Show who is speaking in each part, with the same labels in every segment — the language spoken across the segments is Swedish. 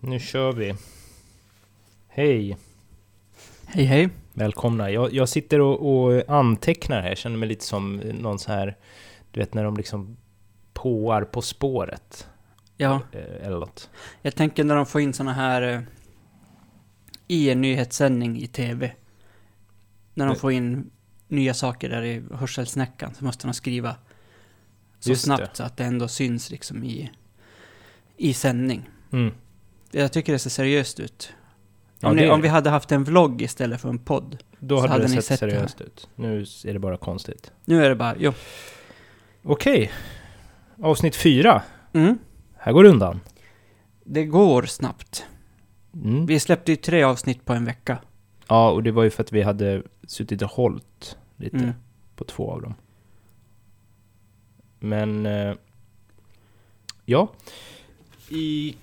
Speaker 1: nu kör vi. Hej!
Speaker 2: Hej hej.
Speaker 1: Välkomna. Jag, jag sitter och, och antecknar här, jag känner mig lite som någon så här, du vet när de liksom påar på spåret.
Speaker 2: Ja,
Speaker 1: eh, Eller något.
Speaker 2: jag tänker när de får in såna här eh, i en nyhetssändning i tv. När de
Speaker 1: Nej.
Speaker 2: får in nya saker där i hörselsnäckan så måste de skriva så
Speaker 1: Just
Speaker 2: snabbt
Speaker 1: det.
Speaker 2: så att det ändå syns liksom i, i sändning.
Speaker 1: Mm.
Speaker 2: Jag tycker det ser seriöst ut.
Speaker 1: Ja,
Speaker 2: om,
Speaker 1: det
Speaker 2: ni,
Speaker 1: är
Speaker 2: om
Speaker 1: det.
Speaker 2: vi hade haft en vlogg istället för en podd.
Speaker 1: Då
Speaker 2: så
Speaker 1: hade,
Speaker 2: hade
Speaker 1: det
Speaker 2: ni
Speaker 1: sett,
Speaker 2: sett det här.
Speaker 1: seriöst ut. Nu är det bara konstigt.
Speaker 2: Nu är det bara, jo.
Speaker 1: Okej. Avsnitt fyra.
Speaker 2: Mm.
Speaker 1: Här går det undan.
Speaker 2: Det går snabbt.
Speaker 1: Mm.
Speaker 2: Vi släppte ju tre avsnitt på en vecka.
Speaker 1: Ja, och det var ju för att vi hade suttit och hållt lite
Speaker 2: Mm.
Speaker 1: på två av dem. Men... Eh, ja. I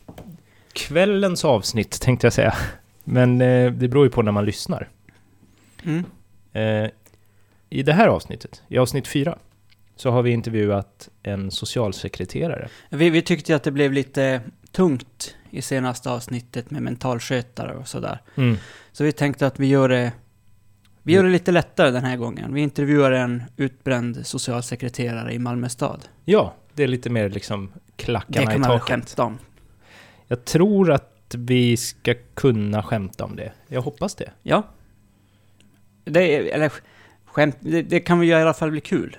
Speaker 1: kvällens avsnitt tänkte jag säga. Men eh, det beror ju på när man lyssnar.
Speaker 2: Mm.
Speaker 1: Eh, I det här avsnittet, i avsnitt fyra, så har vi intervjuat en socialsekreterare.
Speaker 2: Vi, vi tyckte ju att det blev lite tungt i senaste avsnittet med mentalskötare och sådär. Så vi tänkte att vi gör det, vi gör det lite lättare den här gången. Vi intervjuar en utbränd socialsekreterare i Malmö stad.
Speaker 1: Ja, det är lite mer liksom klackarna
Speaker 2: Det kan
Speaker 1: i
Speaker 2: man väl
Speaker 1: taket.
Speaker 2: skämta om.
Speaker 1: Jag tror att vi ska kunna skämta om det. Jag hoppas det.
Speaker 2: Ja. Det, är- eller sk- skämt, det, det kan vi göra i alla fall bli kul.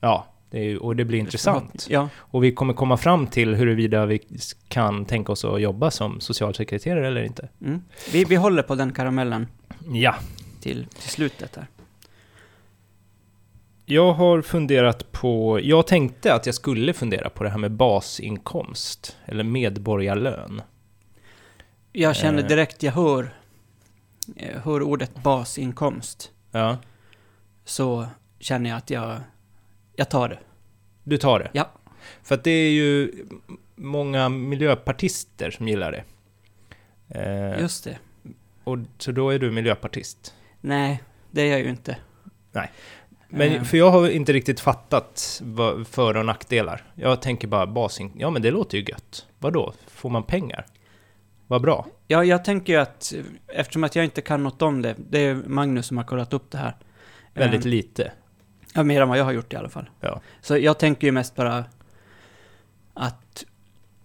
Speaker 1: Ja, det är, ju- och det blir intressant.
Speaker 2: Ja.
Speaker 1: Och vi kommer komma fram till huruvida vi s- kan tänka oss att jobba som socialsekreterare eller inte.
Speaker 2: Mm. Vi, vi håller på den karamellen
Speaker 1: Ja,
Speaker 2: till, till slutet där.
Speaker 1: jag har funderat på... Jag tänkte att jag skulle fundera på det här med basinkomst, eller medborgarlön.
Speaker 2: Jag känner
Speaker 1: Eh.
Speaker 2: direkt, jag hör, jag hör ordet basinkomst.
Speaker 1: Ja,
Speaker 2: så känner jag att jag, jag tar det.
Speaker 1: du tar det?
Speaker 2: Ja.
Speaker 1: För att det är ju många miljöpartister som gillar det. Eh,
Speaker 2: Just det.
Speaker 1: Och, så då är du miljöpartist?
Speaker 2: Nej, det är jag ju inte.
Speaker 1: Nej. Men,
Speaker 2: Eh,
Speaker 1: För jag har inte riktigt fattat vad för och nackdelar. Jag tänker bara basin... Ja, men det låter ju gött. Vadå? Får man pengar? Vad bra.
Speaker 2: ja, jag tänker ju att, eh, eftersom att jag inte kan något om det, det är Magnus som har kollat upp det här.
Speaker 1: Väldigt
Speaker 2: Eh,
Speaker 1: lite.
Speaker 2: Ja, mer än vad jag har gjort i alla fall.
Speaker 1: Ja.
Speaker 2: Så jag tänker ju mest bara att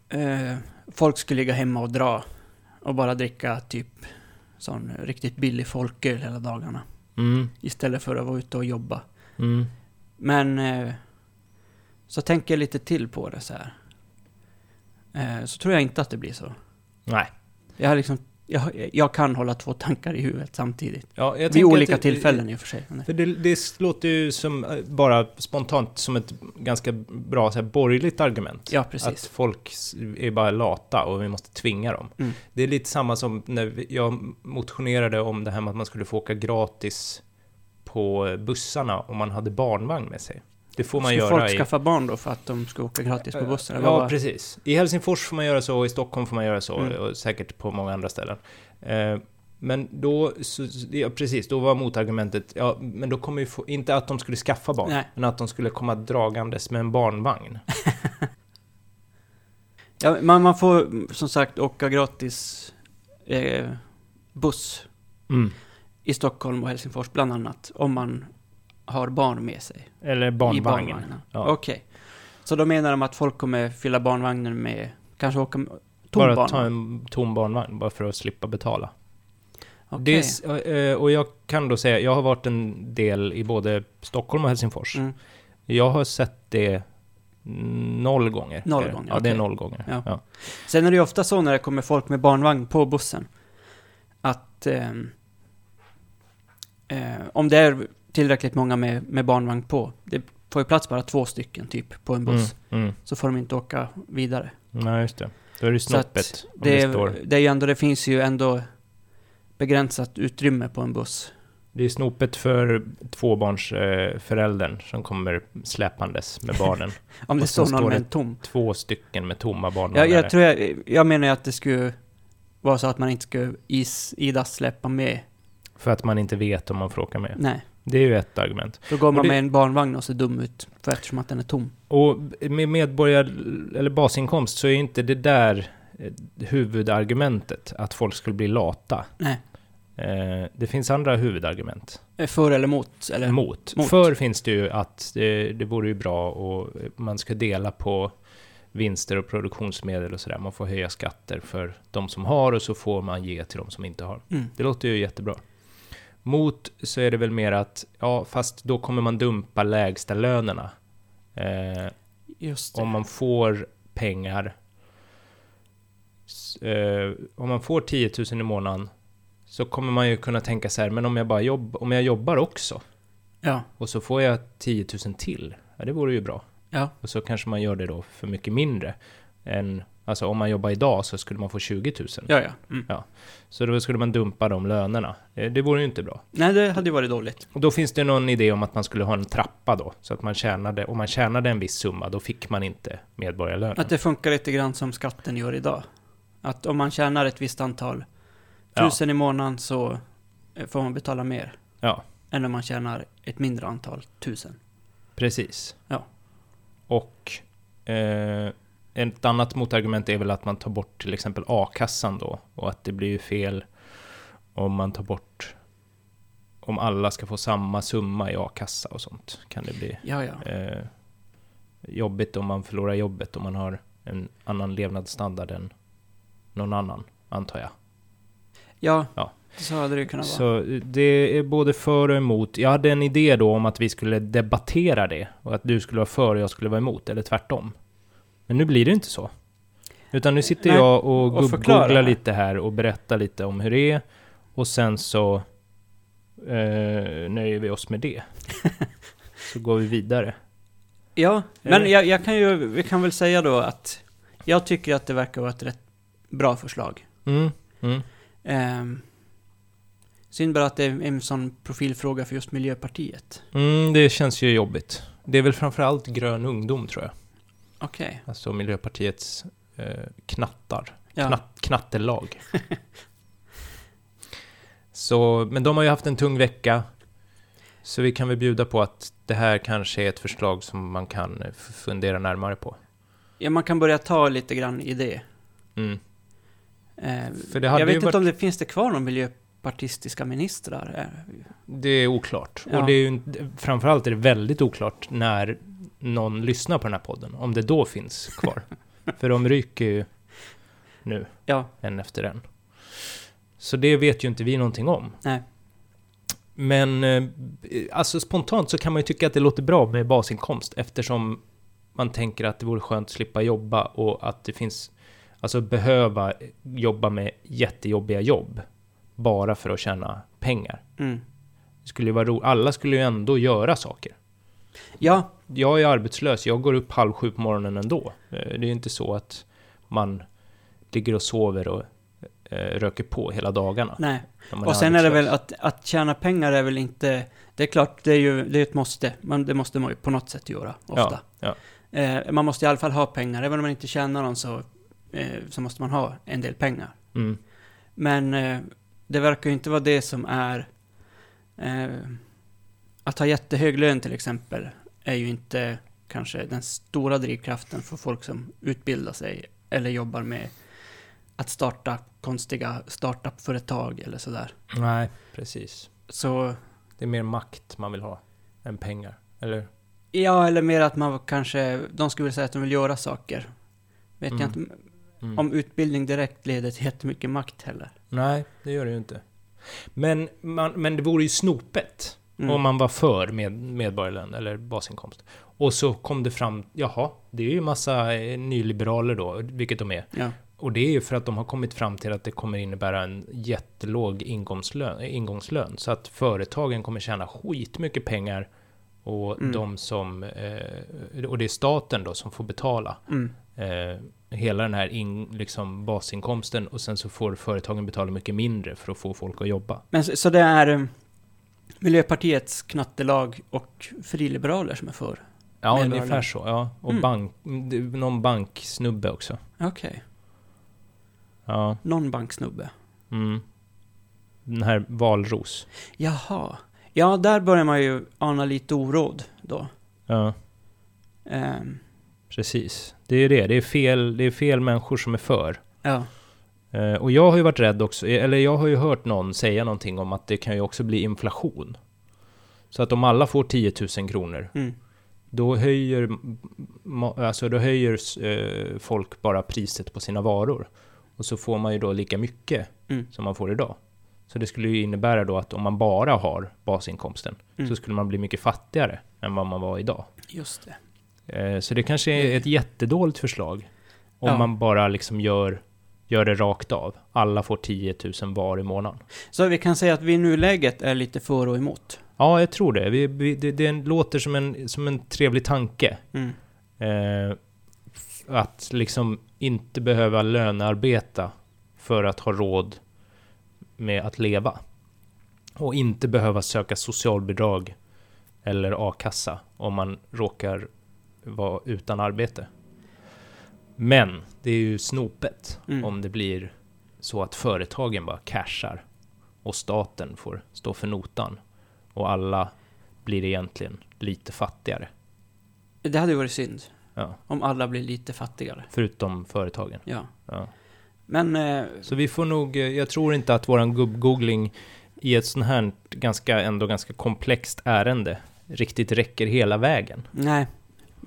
Speaker 2: eh, folk skulle ligga hemma och dra och bara dricka typ sån riktigt billig folköl hela dagarna.
Speaker 1: Mm,
Speaker 2: Istället för att vara ute och jobba.
Speaker 1: mm.
Speaker 2: Men eh, så tänker jag lite till på det så här. Eh, så tror jag inte att det blir så.
Speaker 1: Nej.
Speaker 2: Jag, har liksom, jag, jag kan hålla två tankar i huvudet samtidigt.
Speaker 1: Ja, jag
Speaker 2: Vid
Speaker 1: tänker
Speaker 2: olika
Speaker 1: att det-
Speaker 2: tillfällen i och för sig. Men det-
Speaker 1: För det, det låter ju som, eh, bara spontant, som ett ganska bra så här, borgerligt argument.
Speaker 2: Ja,
Speaker 1: Att
Speaker 2: precis.
Speaker 1: folk s- är bara lata och vi måste tvinga dem.
Speaker 2: Mm.
Speaker 1: Det är lite samma som när vi- jag motionerade om det här med att man skulle få åka gratis på bussarna om man hade barnvagn med sig. Det får man
Speaker 2: Ska
Speaker 1: göra
Speaker 2: folk
Speaker 1: i...
Speaker 2: skaffa barn då för att de ska åka gratis på bussen? Eller
Speaker 1: Ja,
Speaker 2: vad?
Speaker 1: precis. I Helsingfors får man göra så, i Stockholm får man göra så,
Speaker 2: Mm.
Speaker 1: och säkert på många andra ställen. Eh, Men då, så, så- ja, precis, då var motargumentet, ja, men då kommer ju få, inte att de skulle skaffa barn,
Speaker 2: Nej.
Speaker 1: men att de skulle komma dragandes med en barnvagn.
Speaker 2: Ja, man, man får mm, som sagt åka gratis eh, buss
Speaker 1: Mm.
Speaker 2: i Stockholm och Helsingfors bland annat. Om man har barn med sig.
Speaker 1: Eller
Speaker 2: I
Speaker 1: barnvagn.
Speaker 2: barnvagnen.
Speaker 1: Ja.
Speaker 2: Okej. Så då menar de att folk kommer fylla barnvagnen med, kanske åka med tom
Speaker 1: bara
Speaker 2: barnvagn?
Speaker 1: ta en tom barnvagn, bara för att slippa betala.
Speaker 2: Okej.
Speaker 1: Det är, s- eh, och jag kan då säga, jag har varit en del i både Stockholm och Helsingfors.
Speaker 2: Mm.
Speaker 1: Jag har sett det noll gånger.
Speaker 2: Noll
Speaker 1: Är det.
Speaker 2: gånger,
Speaker 1: Ja, det är
Speaker 2: okej.
Speaker 1: noll gånger.
Speaker 2: Ja.
Speaker 1: Ja.
Speaker 2: Sen är det ju ofta så när det kommer folk med barnvagn på bussen, att ehm, eh, om det är tillräckligt många med, med barnvagn på, det får ju plats bara två stycken typ på en buss,
Speaker 1: Mm, mm.
Speaker 2: så får de inte åka vidare.
Speaker 1: Nej, just det. Då är det
Speaker 2: Så att
Speaker 1: snoppet. om
Speaker 2: Det,
Speaker 1: det,
Speaker 2: är,
Speaker 1: står.
Speaker 2: det är ju ändå, det finns ju ändå begränsat utrymme på en buss.
Speaker 1: Det är snopet för tvåbarnsföräldern som kommer släpandes med barnen.
Speaker 2: Om det
Speaker 1: Och sen
Speaker 2: står någon
Speaker 1: står
Speaker 2: med
Speaker 1: det
Speaker 2: en tom.
Speaker 1: Två stycken med tomma
Speaker 2: Jag,
Speaker 1: barnvagnar.
Speaker 2: jag tror jag, jag menar ju att det skulle vara så att man inte skulle is, IDAS släppa med.
Speaker 1: För att man inte vet om man får åka med.
Speaker 2: Nej,
Speaker 1: Det är ju ett argument.
Speaker 2: då går man
Speaker 1: det-
Speaker 2: med en barnvagn och ser dum ut, för eftersom att den är tom.
Speaker 1: Och med medborgar eller basinkomst så är ju inte det där eh, huvudargumentet, att folk skulle bli lata.
Speaker 2: Nej.
Speaker 1: Eh, det finns andra huvudargument.
Speaker 2: Eh, För eller mot? Eller?
Speaker 1: Mot.
Speaker 2: Mot.
Speaker 1: Förr finns det ju att det, det vore ju bra och man ska dela på vinster och produktionsmedel och sådär. Man får höja skatter för de som har och så får man ge till de som inte har.
Speaker 2: Mm.
Speaker 1: Det låter ju jättebra. Mot så är det väl mer att, ja fast då kommer man dumpa lägsta lönerna. Eh,
Speaker 2: Just det.
Speaker 1: om man får pengar, s- eh, om man får 10 000 i månaden, så kommer man ju kunna tänka så här, men om jag bara jobb, om jag jobbar också,
Speaker 2: Ja.
Speaker 1: och så får jag 10 000 till, ja det vore ju bra.
Speaker 2: Ja.
Speaker 1: Och så kanske man gör det då för mycket mindre än, alltså om man jobbar idag så skulle man få 20 000.
Speaker 2: Ja, ja. Mm.
Speaker 1: Så då skulle man dumpa de lönerna. Eh, Det vore ju inte bra.
Speaker 2: Nej, det hade ju varit dåligt.
Speaker 1: Och då finns det någon idé om att man skulle ha en trappa då, så att man tjänade, om man tjänade en viss summa, då fick man inte medborgarlön.
Speaker 2: Att det funkar lite grann som skatten gör idag. Att om man tjänar ett visst antal
Speaker 1: Ja.
Speaker 2: tusen i månaden så eh, får man betala mer.
Speaker 1: Ja.
Speaker 2: Än om man tjänar ett mindre antal tusen.
Speaker 1: Precis.
Speaker 2: Ja.
Speaker 1: Och eh, ett annat motargument är väl att man tar bort till exempel a-kassan då och att det blir ju fel om man tar bort om alla ska få samma summa i a-kassa och sånt kan det bli
Speaker 2: Ja, ja.
Speaker 1: eh, jobbigt om man förlorar jobbet om man har en annan levnadsstandard än någon annan antar jag.
Speaker 2: Ja,
Speaker 1: Ja.
Speaker 2: så hade det ju kunnat vara.
Speaker 1: Så det är både för och emot. Jag hade en idé då om att vi skulle debattera det och att du skulle vara för och jag skulle vara emot, eller tvärtom. Men nu blir det inte så. Utan nu sitter
Speaker 2: Nej,
Speaker 1: jag och,
Speaker 2: och
Speaker 1: och
Speaker 2: förklara.
Speaker 1: googlar lite här och berättar lite om hur det är och sen så eh, nöjer vi oss med det. så går vi vidare.
Speaker 2: Ja, men
Speaker 1: Eller?
Speaker 2: jag, jag kan ju, vi kan väl säga då att jag tycker att det verkar vara ett rätt bra förslag.
Speaker 1: Mm, mm.
Speaker 2: Ehm, synd bara att det är en sån profilfråga för just Miljöpartiet.
Speaker 1: Mm, det känns ju jobbigt. Det är väl framförallt grön ungdom tror jag.
Speaker 2: Okej.
Speaker 1: Alltså Miljöpartiets eh, knattar.
Speaker 2: Ja.
Speaker 1: Knatt, knattelag. så, men de har ju haft en tung vecka. Så vi kan väl bjuda på att det här kanske är ett förslag som man kan eh, f- fundera närmare på.
Speaker 2: ja, man kan börja ta lite grann i det.
Speaker 1: Mm.
Speaker 2: Ehm,
Speaker 1: För det hade
Speaker 2: jag vet
Speaker 1: ju
Speaker 2: inte
Speaker 1: varit-
Speaker 2: om det finns det kvar någon miljöpartistiska ministrar. Ehm,
Speaker 1: Det är oklart.
Speaker 2: Ja.
Speaker 1: Och det är ju, inte- framförallt är det väldigt oklart när någon lyssnar på den här podden, om det då finns kvar. För de ryker ju nu,
Speaker 2: Ja.
Speaker 1: en efter en. Så det vet ju inte vi någonting om.
Speaker 2: Nej.
Speaker 1: Men eh, alltså spontant så kan man ju tycka att det låter bra med basinkomst eftersom man tänker att det vore skönt att slippa jobba och att det finns, alltså behöva jobba med jättejobbiga jobb bara för att tjäna pengar.
Speaker 2: Mm.
Speaker 1: Det skulle ju vara ro- Alla skulle ju ändå göra saker.
Speaker 2: Ja,
Speaker 1: Jag är arbetslös, jag går upp halv sju på morgonen ändå. Eh, Det är ju inte så att man ligger och sover och eh, röker på hela dagarna.
Speaker 2: nej.
Speaker 1: när man
Speaker 2: Och sen är det väl
Speaker 1: arbetslös.
Speaker 2: att, att tjäna pengar är väl inte... Det är klart, det är ju det är ett måste. Men det måste man ju på något sätt göra, ofta.
Speaker 1: Ja,
Speaker 2: Eh, man måste i alla fall ha pengar. Även om man inte tjänar någon så, eh, så måste man ha en del pengar.
Speaker 1: Mm.
Speaker 2: Men eh, det verkar ju inte vara det som är... Eh, att ha jättehög lön till exempel är ju inte kanske den stora drivkraften för folk som utbildar sig eller jobbar med att starta konstiga startup-företag eller sådär.
Speaker 1: Nej, precis.
Speaker 2: Så
Speaker 1: Det är mer makt man vill ha än pengar. Eller?
Speaker 2: Ja, eller mer att man kanske, de skulle vilja säga att de vill göra saker. Vet
Speaker 1: Mm.
Speaker 2: jag inte
Speaker 1: Mm.
Speaker 2: om utbildning direkt leder till jättemycket makt heller.
Speaker 1: Nej, det gör det ju inte. Men, man, men det vore ju snopet
Speaker 2: Mm.
Speaker 1: om man var för med, medborgarlön eller basinkomst. Och så kom det fram, jaha, det är ju massa eh, nyliberaler då, vilket de är.
Speaker 2: Ja.
Speaker 1: Och det är ju för att de har kommit fram till att det kommer innebära en jättelåg ingångslön, eh, ingångslön så att företagen kommer tjäna skitmycket pengar och
Speaker 2: Mm.
Speaker 1: de som, eh, och det är staten då som får betala
Speaker 2: Mm.
Speaker 1: eh, hela den här in, liksom basinkomsten och sen så får företagen betala mycket mindre för att få folk att jobba.
Speaker 2: Men så, så det är eh, Miljöpartiets knattelag och friliberaler som är för?
Speaker 1: Ja,
Speaker 2: Medborgarlön.
Speaker 1: ungefär så. Ja. Och
Speaker 2: Mm.
Speaker 1: bank, det är någon banksnubbe också.
Speaker 2: Okej.
Speaker 1: Ja,
Speaker 2: Någon banksnubbe.
Speaker 1: mm. Den här Valros.
Speaker 2: Jaha. Ja, där börjar man ju ana lite oråd då.
Speaker 1: Ja,
Speaker 2: Ehm,
Speaker 1: precis. Det är ju det. Det är fel, det är fel människor som är för.
Speaker 2: Ja.
Speaker 1: Eh, Och jag har ju varit rädd också, eh, eller jag har ju hört någon säga någonting om att det kan ju också bli inflation. Så att om alla får 10 000 kronor,
Speaker 2: Mm.
Speaker 1: då höjer, ma- alltså då höjer eh, folk bara priset på sina varor. Och så får man ju då lika mycket
Speaker 2: Mm.
Speaker 1: som man får idag. Så det skulle ju innebära då att om man bara har basinkomsten,
Speaker 2: Mm.
Speaker 1: så skulle man bli mycket fattigare än vad man var idag.
Speaker 2: Just det.
Speaker 1: Eh, Så det kanske är ett jättedåligt förslag. Om
Speaker 2: Ja.
Speaker 1: man bara liksom gör, gör det rakt av. Alla får 10 000 var i månaden.
Speaker 2: Så vi kan säga att vi i nuläget är lite för och emot.
Speaker 1: Ja, jag tror det. Vi, vi, det, det låter som en, som en trevlig tanke.
Speaker 2: Mm.
Speaker 1: Eh, att liksom inte behöva lönearbeta för att ha råd med att leva. Och inte behöva söka socialbidrag eller a-kassa om man råkar vara utan arbete. Men det är ju snopet
Speaker 2: Mm.
Speaker 1: om det blir så att företagen bara cashar och staten får stå för notan och alla blir egentligen lite fattigare,
Speaker 2: Det hade ju varit synd.
Speaker 1: Ja.
Speaker 2: Om alla blir lite fattigare.
Speaker 1: förutom företagen.
Speaker 2: Ja.
Speaker 1: Ja.
Speaker 2: Men, eh,
Speaker 1: Så vi får nog, eh, jag tror inte att våran gubb-googling i ett sånt här ganska, ändå ganska komplext ärende riktigt räcker hela vägen.
Speaker 2: nej.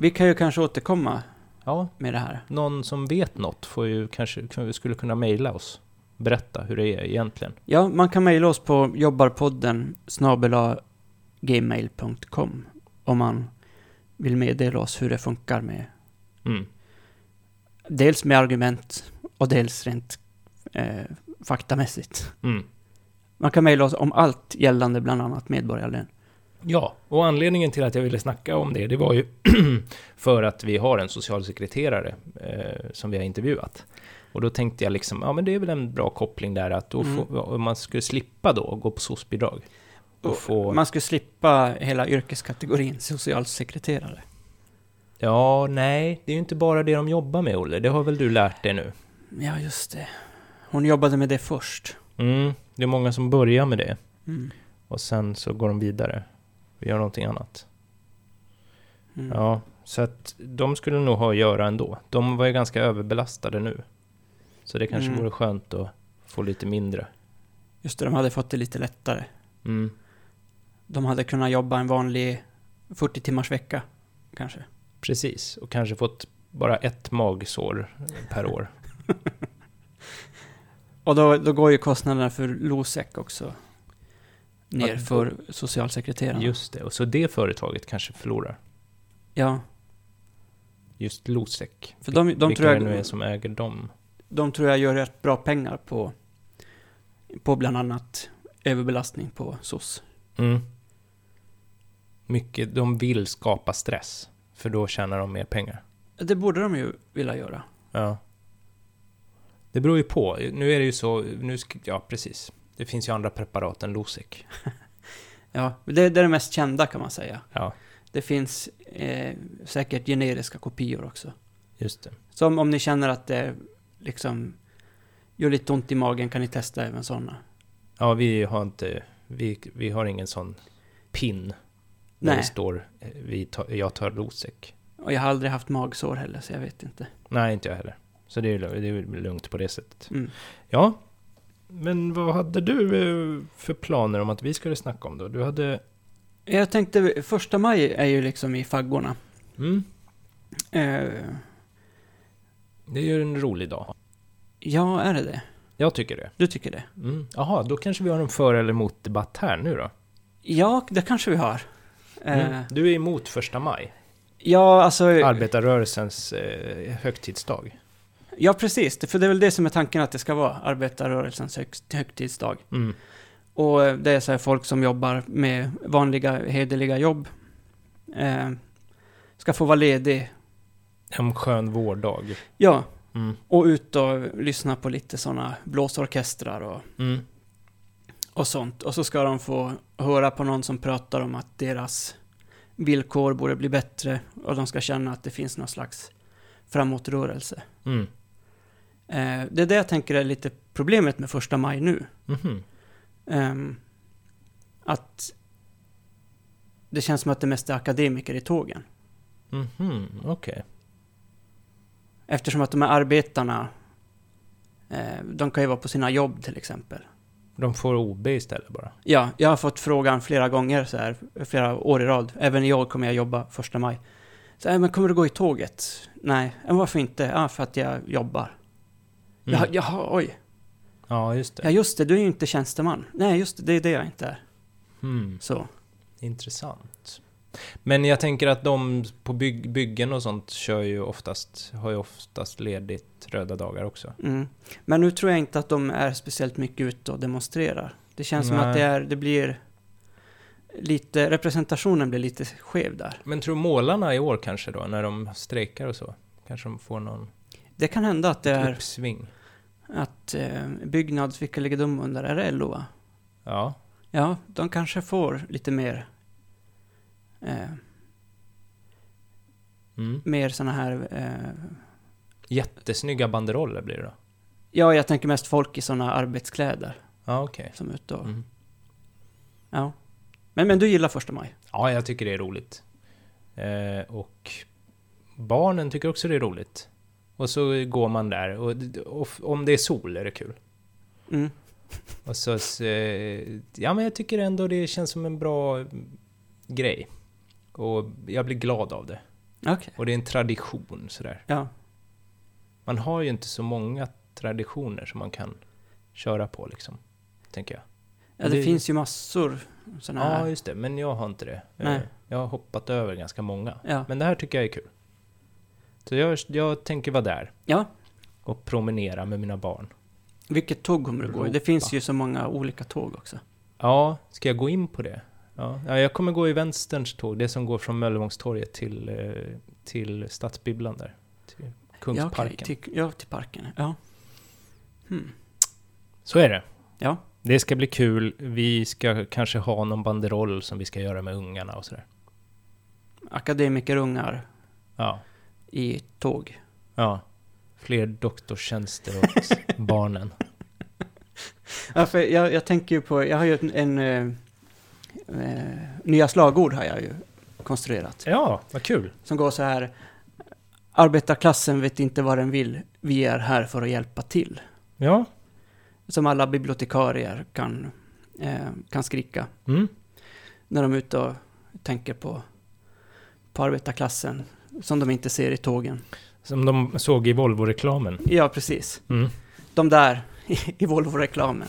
Speaker 2: Vi kan ju kanske återkomma
Speaker 1: Ja,
Speaker 2: med det här.
Speaker 1: någon som vet något får ju kanske, kan- skulle kunna mejla oss. Berätta hur det är egentligen.
Speaker 2: Ja, man kan mejla oss på jobbarpodden snabela gmail.com om man vill meddela oss hur det funkar med
Speaker 1: Mm.
Speaker 2: dels med argument och dels rent eh, faktamässigt.
Speaker 1: Mm.
Speaker 2: Man kan mejla oss om allt gällande bland annat medborgarlön.
Speaker 1: Ja, och anledningen till att jag ville snacka om det, det var ju för att vi har en socialsekreterare eh, som vi har intervjuat. Och då tänkte jag liksom, ja men det är väl en bra koppling där att då
Speaker 2: Mm.
Speaker 1: får, om man skulle slippa då gå på soc-bidrag. Och få...
Speaker 2: Man skulle slippa hela yrkeskategorin socialsekreterare.
Speaker 1: Ja, nej, det är ju inte bara det de jobbar med, Olle. Det har väl du lärt dig nu?
Speaker 2: Ja, just det. Hon jobbade med det först.
Speaker 1: Mm, det är många som börjar med det
Speaker 2: Mm.
Speaker 1: och sen så går de vidare och gör någonting annat.
Speaker 2: Mm.
Speaker 1: Ja, så att de skulle nog ha att göra ändå. De var ju ganska överbelastade nu. Så det kanske
Speaker 2: Mm.
Speaker 1: vore skönt att få lite mindre.
Speaker 2: Just det, de hade fått det lite lättare.
Speaker 1: Mm.
Speaker 2: De hade kunnat jobba en vanlig 40 timmars vecka, kanske.
Speaker 1: Precis, och kanske fått bara ett magsår per år.
Speaker 2: Och då, då går ju kostnaderna för Losec också ner
Speaker 1: Att-
Speaker 2: för socialsekreterarna.
Speaker 1: Just det, och så det företaget kanske förlorar.
Speaker 2: Ja,
Speaker 1: Just Losec.
Speaker 2: för de, de,
Speaker 1: Vilka
Speaker 2: tror
Speaker 1: det nu är
Speaker 2: jag,
Speaker 1: som äger dem.
Speaker 2: de tror jag gör rätt bra pengar på, på bland annat överbelastning på SOS.
Speaker 1: Mm. Mycket, de vill skapa stress, för då tjänar de mer pengar.
Speaker 2: Det borde de ju vilja göra.
Speaker 1: Ja. Det beror ju på. Nu är det ju så, nu sk- ja precis. Det finns ju andra preparat än Losec.
Speaker 2: Ja, det, det är det mest kända kan man säga.
Speaker 1: Ja,
Speaker 2: Det finns eh, säkert generiska kopior också.
Speaker 1: just det.
Speaker 2: Som om ni känner att det liksom gör lite ont i magen kan ni testa även sådana.
Speaker 1: Ja, vi har inte, vi, vi har ingen sån pin där det
Speaker 2: Nej,
Speaker 1: står eh, vi tar, jag tar Losec.
Speaker 2: och jag har aldrig haft magsår heller så jag vet inte.
Speaker 1: Nej, inte jag heller. Så det är ju lu- det är ju lugnt på det sättet.
Speaker 2: Mm.
Speaker 1: Ja, men vad hade du eh, för planer om att vi skulle snacka om då? Du hade...
Speaker 2: Jag tänkte, första maj är ju liksom i faggorna.
Speaker 1: Mm,
Speaker 2: Eh,
Speaker 1: det är ju en rolig dag.
Speaker 2: ja, är det det?
Speaker 1: Jag tycker det.
Speaker 2: Du tycker det?
Speaker 1: Mm. Jaha, då kanske vi har en för eller emot-debatt här nu då?
Speaker 2: Ja, det kanske vi har. Eh,
Speaker 1: Mm. Du är emot första maj,
Speaker 2: Ja, alltså...
Speaker 1: arbetarrörelsens eh, högtidsdag.
Speaker 2: Ja, precis. För det är väl det som är tanken att det ska vara, arbetarrörelsens högst, högtidsdag.
Speaker 1: Mm.
Speaker 2: Och eh, det är så här folk som jobbar med vanliga, hederliga jobb. Eh, ska få vara ledig.
Speaker 1: En skön vårdag.
Speaker 2: Ja,
Speaker 1: Mm.
Speaker 2: och ut och lyssna på lite sådana blåsorkestrar och,
Speaker 1: Mm.
Speaker 2: och sånt. Och så ska de få höra på någon som pratar om att deras villkor borde bli bättre och de ska känna att det finns någon slags framåtrörelse.
Speaker 1: Mm.
Speaker 2: Eh, det är det jag tänker är lite problemet med första maj nu.
Speaker 1: Mhm.
Speaker 2: Ehm, att det känns som att det mest är akademiker i tågen.
Speaker 1: Mhm. Okej.
Speaker 2: Eftersom att de här arbetarna Eh, De kan ju vara på sina jobb till exempel.
Speaker 1: De får OB istället bara.
Speaker 2: Ja, jag har fått frågan flera gånger så här, flera år i rad. Även i år kommer jag jobba första maj. Så här, men kommer du gå i tåget? Nej, men varför inte? Ja, för att jag jobbar.
Speaker 1: Mm.
Speaker 2: Jaha, jaha, oj.
Speaker 1: Ja, just det.
Speaker 2: Ja, just det, du är ju inte tjänsteman. Nej, just det, det är det jag inte är.
Speaker 1: Hmm,
Speaker 2: Så.
Speaker 1: intressant. Men jag tänker att de på bygg, byggen och sånt kör ju oftast, har ju oftast ledigt röda dagar också.
Speaker 2: Mm. Men nu tror jag inte att de är speciellt mycket ute och demonstrerar. Det känns som
Speaker 1: Nej.
Speaker 2: att det, är, det blir lite, representationen blir lite skev där.
Speaker 1: Men tror målarna i år kanske då, när de strejkar och så? Kanske de får någon
Speaker 2: Det kan hända att det är
Speaker 1: uppsving?
Speaker 2: att eh, Byggnads, vilka ligger de under? Är det LO va?
Speaker 1: Ja.
Speaker 2: Ja, de kanske får lite mer, eh,
Speaker 1: Mm.
Speaker 2: mer såna här, eh,
Speaker 1: Jättesnygga banderoller blir det då.
Speaker 2: ja jag tänker mest folk i såna arbetskläder
Speaker 1: Ja, okej.
Speaker 2: som är ute och,
Speaker 1: Mm.
Speaker 2: ja. Men, men du gillar första maj?
Speaker 1: Ja, jag tycker det är roligt. Eh, och barnen tycker också det är roligt. Och så går man där och, d- och f- om det är sol är det kul.
Speaker 2: Mm.
Speaker 1: Och så, s- eh, ja men jag tycker ändå det känns som en bra mm, grej. Och jag blir glad av det.
Speaker 2: Okej.
Speaker 1: Och det är en tradition sådär.
Speaker 2: Ja.
Speaker 1: Man har ju inte så många traditioner som man kan köra på liksom. Tänker jag.
Speaker 2: ja, det
Speaker 1: Det-
Speaker 2: finns ju massor såna
Speaker 1: Ja,
Speaker 2: här.
Speaker 1: just det. Men jag har inte det.
Speaker 2: Nej.
Speaker 1: Eh, Jag har hoppat över ganska många.
Speaker 2: Ja.
Speaker 1: Men det här tycker jag är kul. Så jag, jag tänker vara där
Speaker 2: ja.
Speaker 1: och promenera med mina barn.
Speaker 2: Vilket tåg kommer du gå i? Det finns ju så många olika tåg också.
Speaker 1: Ja, ska jag gå in på det? Ja, ja jag kommer gå i vänsterns tåg, det som går från Möllevångstorget till, eh, till Stadsbibblan där. Till Kungsparken.
Speaker 2: Ja, okej, typ. till, ja, till parken. Ja. Hmm.
Speaker 1: Så är det.
Speaker 2: Ja.
Speaker 1: Det ska bli kul. Vi ska kanske ha någon banderoll som vi ska göra med ungarna och sådär.
Speaker 2: Akademikerungar
Speaker 1: Ja.
Speaker 2: i tåg.
Speaker 1: ja. Fler doktorstjänster åt barnen.
Speaker 2: Ja, för jag, jag tänker ju på, jag har ju en, en eh, eh, nya slagord har jag ju konstruerat.
Speaker 1: Ja, vad kul.
Speaker 2: Som går så här. Arbetarklassen vet inte vad den vill. Vi är här för att hjälpa till.
Speaker 1: Ja.
Speaker 2: Som alla bibliotekarier kan, eh, kan skrika.
Speaker 1: Mm.
Speaker 2: när de är ute och tänker på, på arbetarklassen som de inte ser i tågen.
Speaker 1: Som de såg i Volvo-reklamen.
Speaker 2: Ja, precis.
Speaker 1: Mm.
Speaker 2: De där i, i Volvo-reklamen.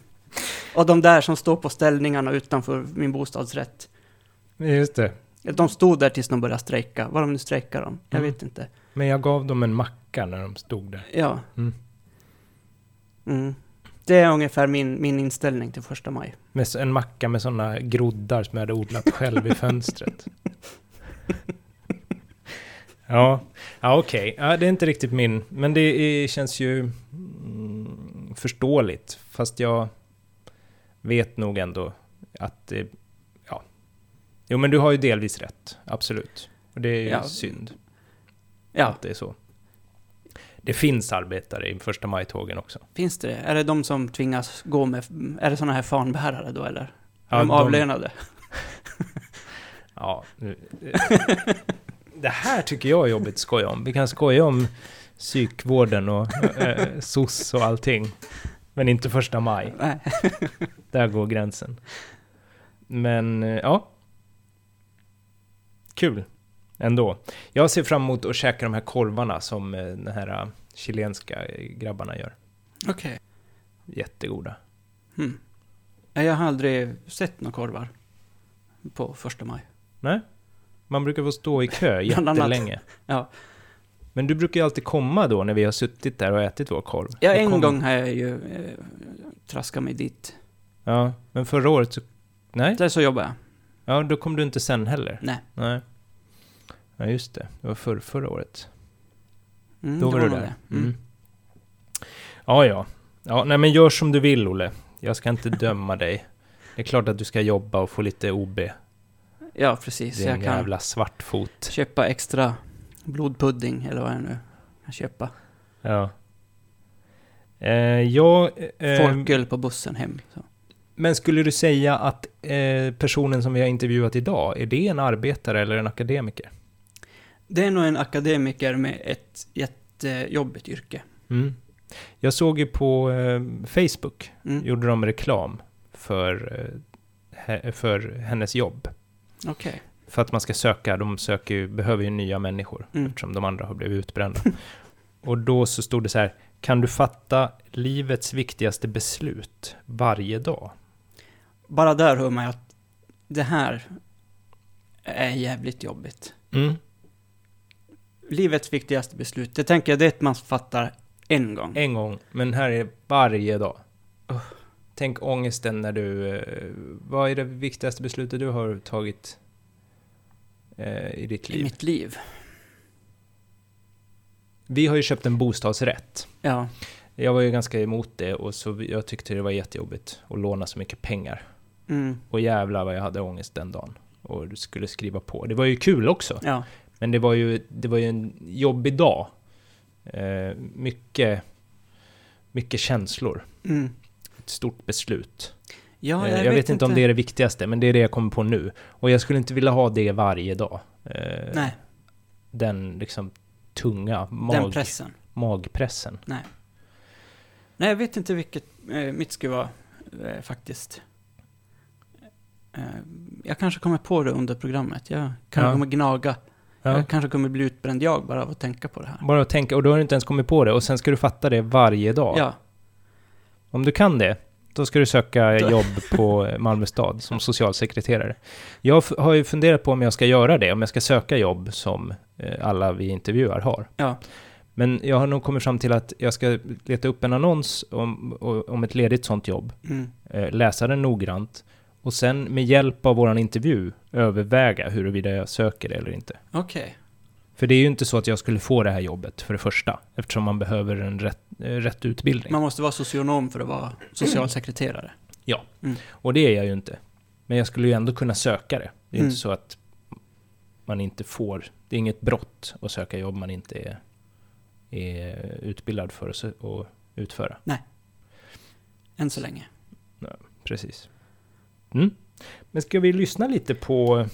Speaker 2: och de där som står på ställningarna utanför min bostadsrätt.
Speaker 1: Just det.
Speaker 2: De stod där tills de började strejka. Vad de nu strejkar om, jag
Speaker 1: Mm.
Speaker 2: vet inte.
Speaker 1: Men jag gav dem en macka när de stod där.
Speaker 2: Ja.
Speaker 1: Mm.
Speaker 2: Mm. Det är ungefär min, min inställning till första maj.
Speaker 1: Med s- en macka med sådana groddar som jag hade odlat själv i fönstret. Ja, ja okej. Ja, det är inte riktigt min. Men det är, känns ju mm, förståeligt. Fast jag vet nog ändå att det, ja. Jo, men du har ju delvis rätt. Absolut. Och det är ju
Speaker 2: Ja.
Speaker 1: synd
Speaker 2: Ja,
Speaker 1: att det är så. Det finns arbetare i första maj-tågen också.
Speaker 2: finns det det? Är det de som tvingas gå med, är det sådana här fanbärare då eller? Är
Speaker 1: Ja,
Speaker 2: de
Speaker 1: de-
Speaker 2: avlönade?
Speaker 1: Ja, nu, eh, det här tycker jag är jobbigt att skoja om. Vi kan skoja om psykvården och eh, SOS och allting. Men inte första maj.
Speaker 2: Nej.
Speaker 1: Där går gränsen. Men eh, ja. Kul ändå. Jag ser fram emot att käka de här korvarna som eh, de här eh, chilenska eh, grabbarna gör.
Speaker 2: Okej.
Speaker 1: Jättegoda.
Speaker 2: Hmm. Nej, Jag har aldrig sett några korvar på första maj.
Speaker 1: Man brukar få stå i kö
Speaker 2: Bland annat.
Speaker 1: jättelänge.
Speaker 2: Ja.
Speaker 1: Men du brukar ju alltid komma då när vi har suttit där och ätit vår korv.
Speaker 2: Ja,
Speaker 1: Du
Speaker 2: en
Speaker 1: kom-
Speaker 2: gång har jag ju eh, traskat mig dit.
Speaker 1: Ja, men förra året så... Nej,
Speaker 2: Där så jobbar jag.
Speaker 1: ja, då kom du inte sen heller.
Speaker 2: Nej.
Speaker 1: Nej. Ja, just det. Det var för, förra året.
Speaker 2: Mm,
Speaker 1: Då
Speaker 2: det
Speaker 1: var du
Speaker 2: nog
Speaker 1: där.
Speaker 2: det. Mm.
Speaker 1: Mm. Ja, ja. Ja, nej men gör som du vill, Olle. Jag ska inte döma dig. Det är klart att du ska jobba och få lite OB.
Speaker 2: Ja, precis.
Speaker 1: Din
Speaker 2: jag kan
Speaker 1: jävla svartfot.
Speaker 2: köpa extra blodpudding eller vad jag nu kan köpa.
Speaker 1: Ja. Eh, jag... Eh,
Speaker 2: Folköl på bussen hem. Så.
Speaker 1: men skulle du säga att eh, personen som vi har intervjuat idag, är det en arbetare eller en akademiker?
Speaker 2: Det är nog en akademiker med ett jättejobbigt yrke.
Speaker 1: Mm. Jag såg ju på eh, Facebook,
Speaker 2: Mm.
Speaker 1: gjorde de reklam för, eh, he- för hennes jobb.
Speaker 2: Okej.
Speaker 1: För att man ska söka, de söker ju, behöver ju nya människor
Speaker 2: Mm.
Speaker 1: eftersom de andra har blivit utbrända. Och då så stod det så här, kan du fatta livets viktigaste beslut varje dag?
Speaker 2: Bara där hör man ju att det här är jävligt jobbigt.
Speaker 1: Mm.
Speaker 2: Livets viktigaste beslut, det tänker jag, det är ett man fattar en gång.
Speaker 1: En gång, men här är varje dag.
Speaker 2: Ugh.
Speaker 1: Tänk ångesten när du... Eh, vad är det viktigaste beslutet du har tagit eh, i ditt
Speaker 2: I
Speaker 1: liv?
Speaker 2: mitt liv.
Speaker 1: Vi har ju köpt en bostadsrätt.
Speaker 2: Ja.
Speaker 1: Jag var ju ganska emot det och så vi- jag tyckte det var jättejobbigt att låna så mycket pengar.
Speaker 2: Mm.
Speaker 1: Och jävlar vad jag hade ångest den dagen. Och du skulle skriva på. Det var ju kul också.
Speaker 2: Ja.
Speaker 1: Men det var ju, det var ju en jobbig dag. Eh, mycket, mycket känslor.
Speaker 2: Mm.
Speaker 1: Ett stort beslut.
Speaker 2: ja
Speaker 1: Eh, jag vet inte om det är det viktigaste, men det är det jag kommer på nu. Och jag skulle inte vilja ha det varje dag. Eh,
Speaker 2: Nej,
Speaker 1: Den liksom tunga
Speaker 2: den
Speaker 1: mag,
Speaker 2: pressen.
Speaker 1: magpressen.
Speaker 2: Nej, jag vet inte vilket eh, mitt skulle vara eh, faktiskt. Eh, jag kanske kommer på det under programmet. Jag kanske
Speaker 1: Ja.
Speaker 2: kommer gnaga.
Speaker 1: Ja.
Speaker 2: Jag kanske kommer bli utbränd jag bara av att tänka på det här.
Speaker 1: Bara att tänka, och då har du inte ens kommit på det, och sen ska du fatta det varje dag.
Speaker 2: Ja,
Speaker 1: Om du kan det, då ska du söka
Speaker 2: Då-
Speaker 1: jobb på Malmö stad som socialsekreterare. Jag f- har ju funderat på om jag ska göra det, om jag ska söka jobb som eh, alla vi intervjuar har.
Speaker 2: ja,
Speaker 1: Men jag har nog kommit fram till att jag ska leta upp en annons om, om ett ledigt sånt jobb.
Speaker 2: mm,
Speaker 1: eh, läsa den noggrant och sen med hjälp av våran intervju överväga huruvida jag söker det eller inte.
Speaker 2: okej.
Speaker 1: För det är ju inte så att jag skulle få det här jobbet för det första, eftersom man behöver en rätt, eh, rätt utbildning.
Speaker 2: Man måste vara socionom för att vara socialsekreterare.
Speaker 1: Och det är jag ju inte. Men jag skulle ju ändå kunna söka det. Det är ju
Speaker 2: Mm.
Speaker 1: inte så att man inte får, det är inget brott att söka jobb man inte är, är utbildad för att sö- att utföra.
Speaker 2: Än så länge.
Speaker 1: Precis. Mm. Men ska vi lyssna lite på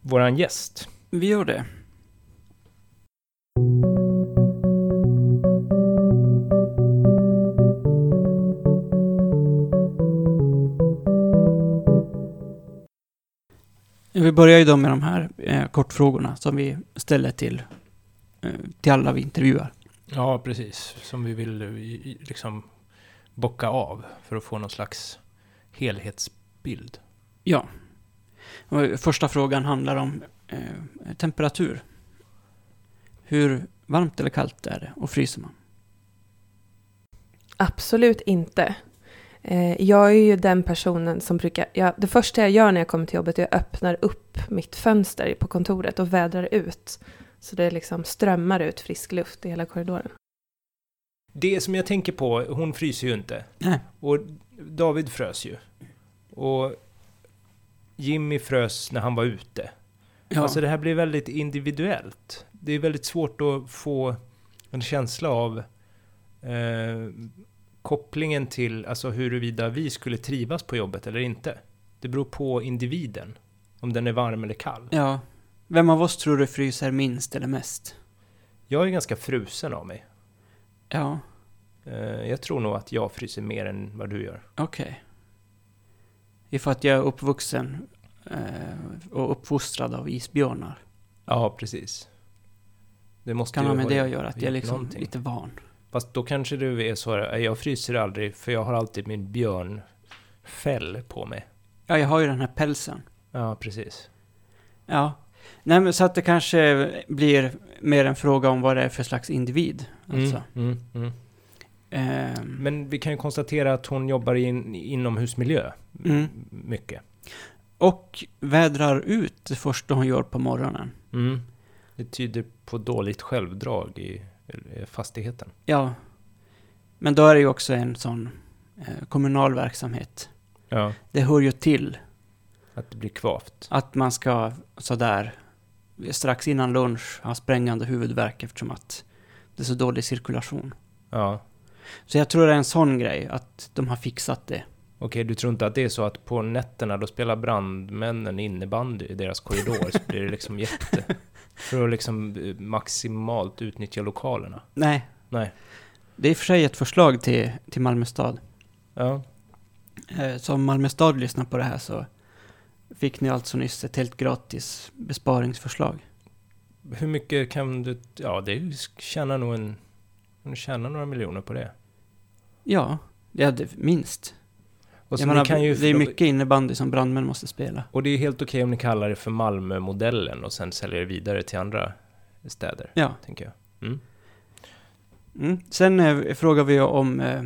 Speaker 1: våran gäst?
Speaker 2: Vi gör det. Vi börjar ju då med de här eh, kortfrågorna som vi ställer till, eh, till alla vi intervjuar.
Speaker 1: Ja, precis. Som vi vill eh, i- i- liksom bocka av för att få någon slags helhetsbild.
Speaker 2: Ja. Och Första frågan handlar om eh, temperatur. Hur varmt eller kallt är det och fryser man?
Speaker 3: Absolut inte. Eh, Jag är ju den personen som brukar... Jag, det första jag gör när jag kommer till jobbet är att jag öppnar upp mitt fönster på kontoret och vädrar ut. Så det liksom strömmar ut frisk luft i hela korridoren.
Speaker 1: Det som jag tänker på, hon fryser ju inte.
Speaker 2: Nej.
Speaker 1: Och David frös ju. Och Jimmy frös när han var ute.
Speaker 2: Ja,
Speaker 1: Alltså det här blir väldigt individuellt. Det är väldigt svårt att få en känsla av eh, kopplingen till alltså huruvida vi skulle trivas på jobbet eller inte. Det beror på individen, om den är varm eller kall.
Speaker 2: ja. Vem av oss tror du fryser minst eller mest?
Speaker 1: Jag är ganska frusen av mig.
Speaker 2: Ja,
Speaker 1: Eh, jag tror nog att jag fryser mer än vad du gör.
Speaker 2: okej. Ifall att jag är uppvuxen eh, och uppfostrad av isbjörnar.
Speaker 1: Ja, precis. Det måste
Speaker 2: Kan
Speaker 1: ju
Speaker 2: ha med
Speaker 1: ha
Speaker 2: det att göra, att jag är
Speaker 1: gjort
Speaker 2: liksom
Speaker 1: någonting.
Speaker 2: lite van.
Speaker 1: Fast då kanske du är så här, "Nej, jag fryser aldrig för jag har alltid min björnfäll på mig.
Speaker 2: Ja, jag har ju den här pälsen.
Speaker 1: Ja, precis.
Speaker 2: Ja. Nej, men så att det kanske blir mer en fråga om vad det är för slags individ. Alltså.
Speaker 1: Mm, mm, mm.
Speaker 2: Ehm,
Speaker 1: Men vi kan ju konstatera att hon jobbar i en inomhusmiljö
Speaker 2: Mm.
Speaker 1: mycket.
Speaker 2: och vädrar ut det första hon gör på morgonen.
Speaker 1: Mm. Det tyder på dåligt självdrag i eh, fastigheten.
Speaker 2: Ja. Men då är det ju också en sån eh, kommunal verksamhet.
Speaker 1: Ja.
Speaker 2: Det hör ju till
Speaker 1: Att det blir kvavt.
Speaker 2: att man ska sådär strax innan lunch ha sprängande huvudvärk eftersom att det är så dålig cirkulation.
Speaker 1: Ja.
Speaker 2: Så jag tror det är en sån grej att de har fixat det.
Speaker 1: Okej, du tror inte att det är så att på nätterna då spelar brandmännen innebandy i deras korridor så blir det liksom jätte... För att liksom eh, maximalt utnyttja lokalerna.
Speaker 2: Nej.
Speaker 1: Nej.
Speaker 2: Det är i och för sig ett förslag till, till Malmö stad.
Speaker 1: Ja.
Speaker 2: Eh, Så om Malmö stad lyssnar på det här så fick ni alltså nyss ett helt gratis besparingsförslag.
Speaker 1: Hur mycket kan du... Ja, det tjänar nog en... Kan du tjäna några miljoner på det?
Speaker 2: Ja, det hade minst.
Speaker 1: Och, så
Speaker 2: Jag
Speaker 1: ni
Speaker 2: menar,
Speaker 1: kan ju,
Speaker 2: det är mycket innebandy som brandmän måste spela.
Speaker 1: och det är helt okej om ni kallar det för Malmö-modellen och sen säljer det vidare till andra städer,
Speaker 2: Ja.
Speaker 1: tänker jag.
Speaker 2: Mm. Sen eh, frågar vi om eh,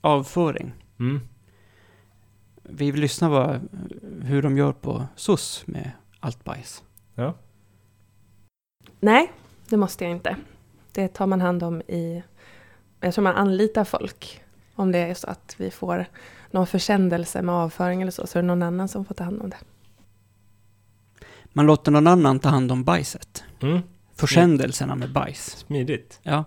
Speaker 2: avföring.
Speaker 1: Mm.
Speaker 2: Vi lyssnar vad, hur de gör på SOS med allt bajs.
Speaker 3: Nej, det måste jag inte. Det tar man hand om i... Jag tror man anlitar folk. Om det är så att vi får någon försändelse med avföring eller så, så är det någon annan som får ta hand om det.
Speaker 2: Man låter någon annan ta hand om bajset.
Speaker 1: Mm.
Speaker 2: Försändelserna med bajs.
Speaker 1: Smidigt.
Speaker 2: Ja.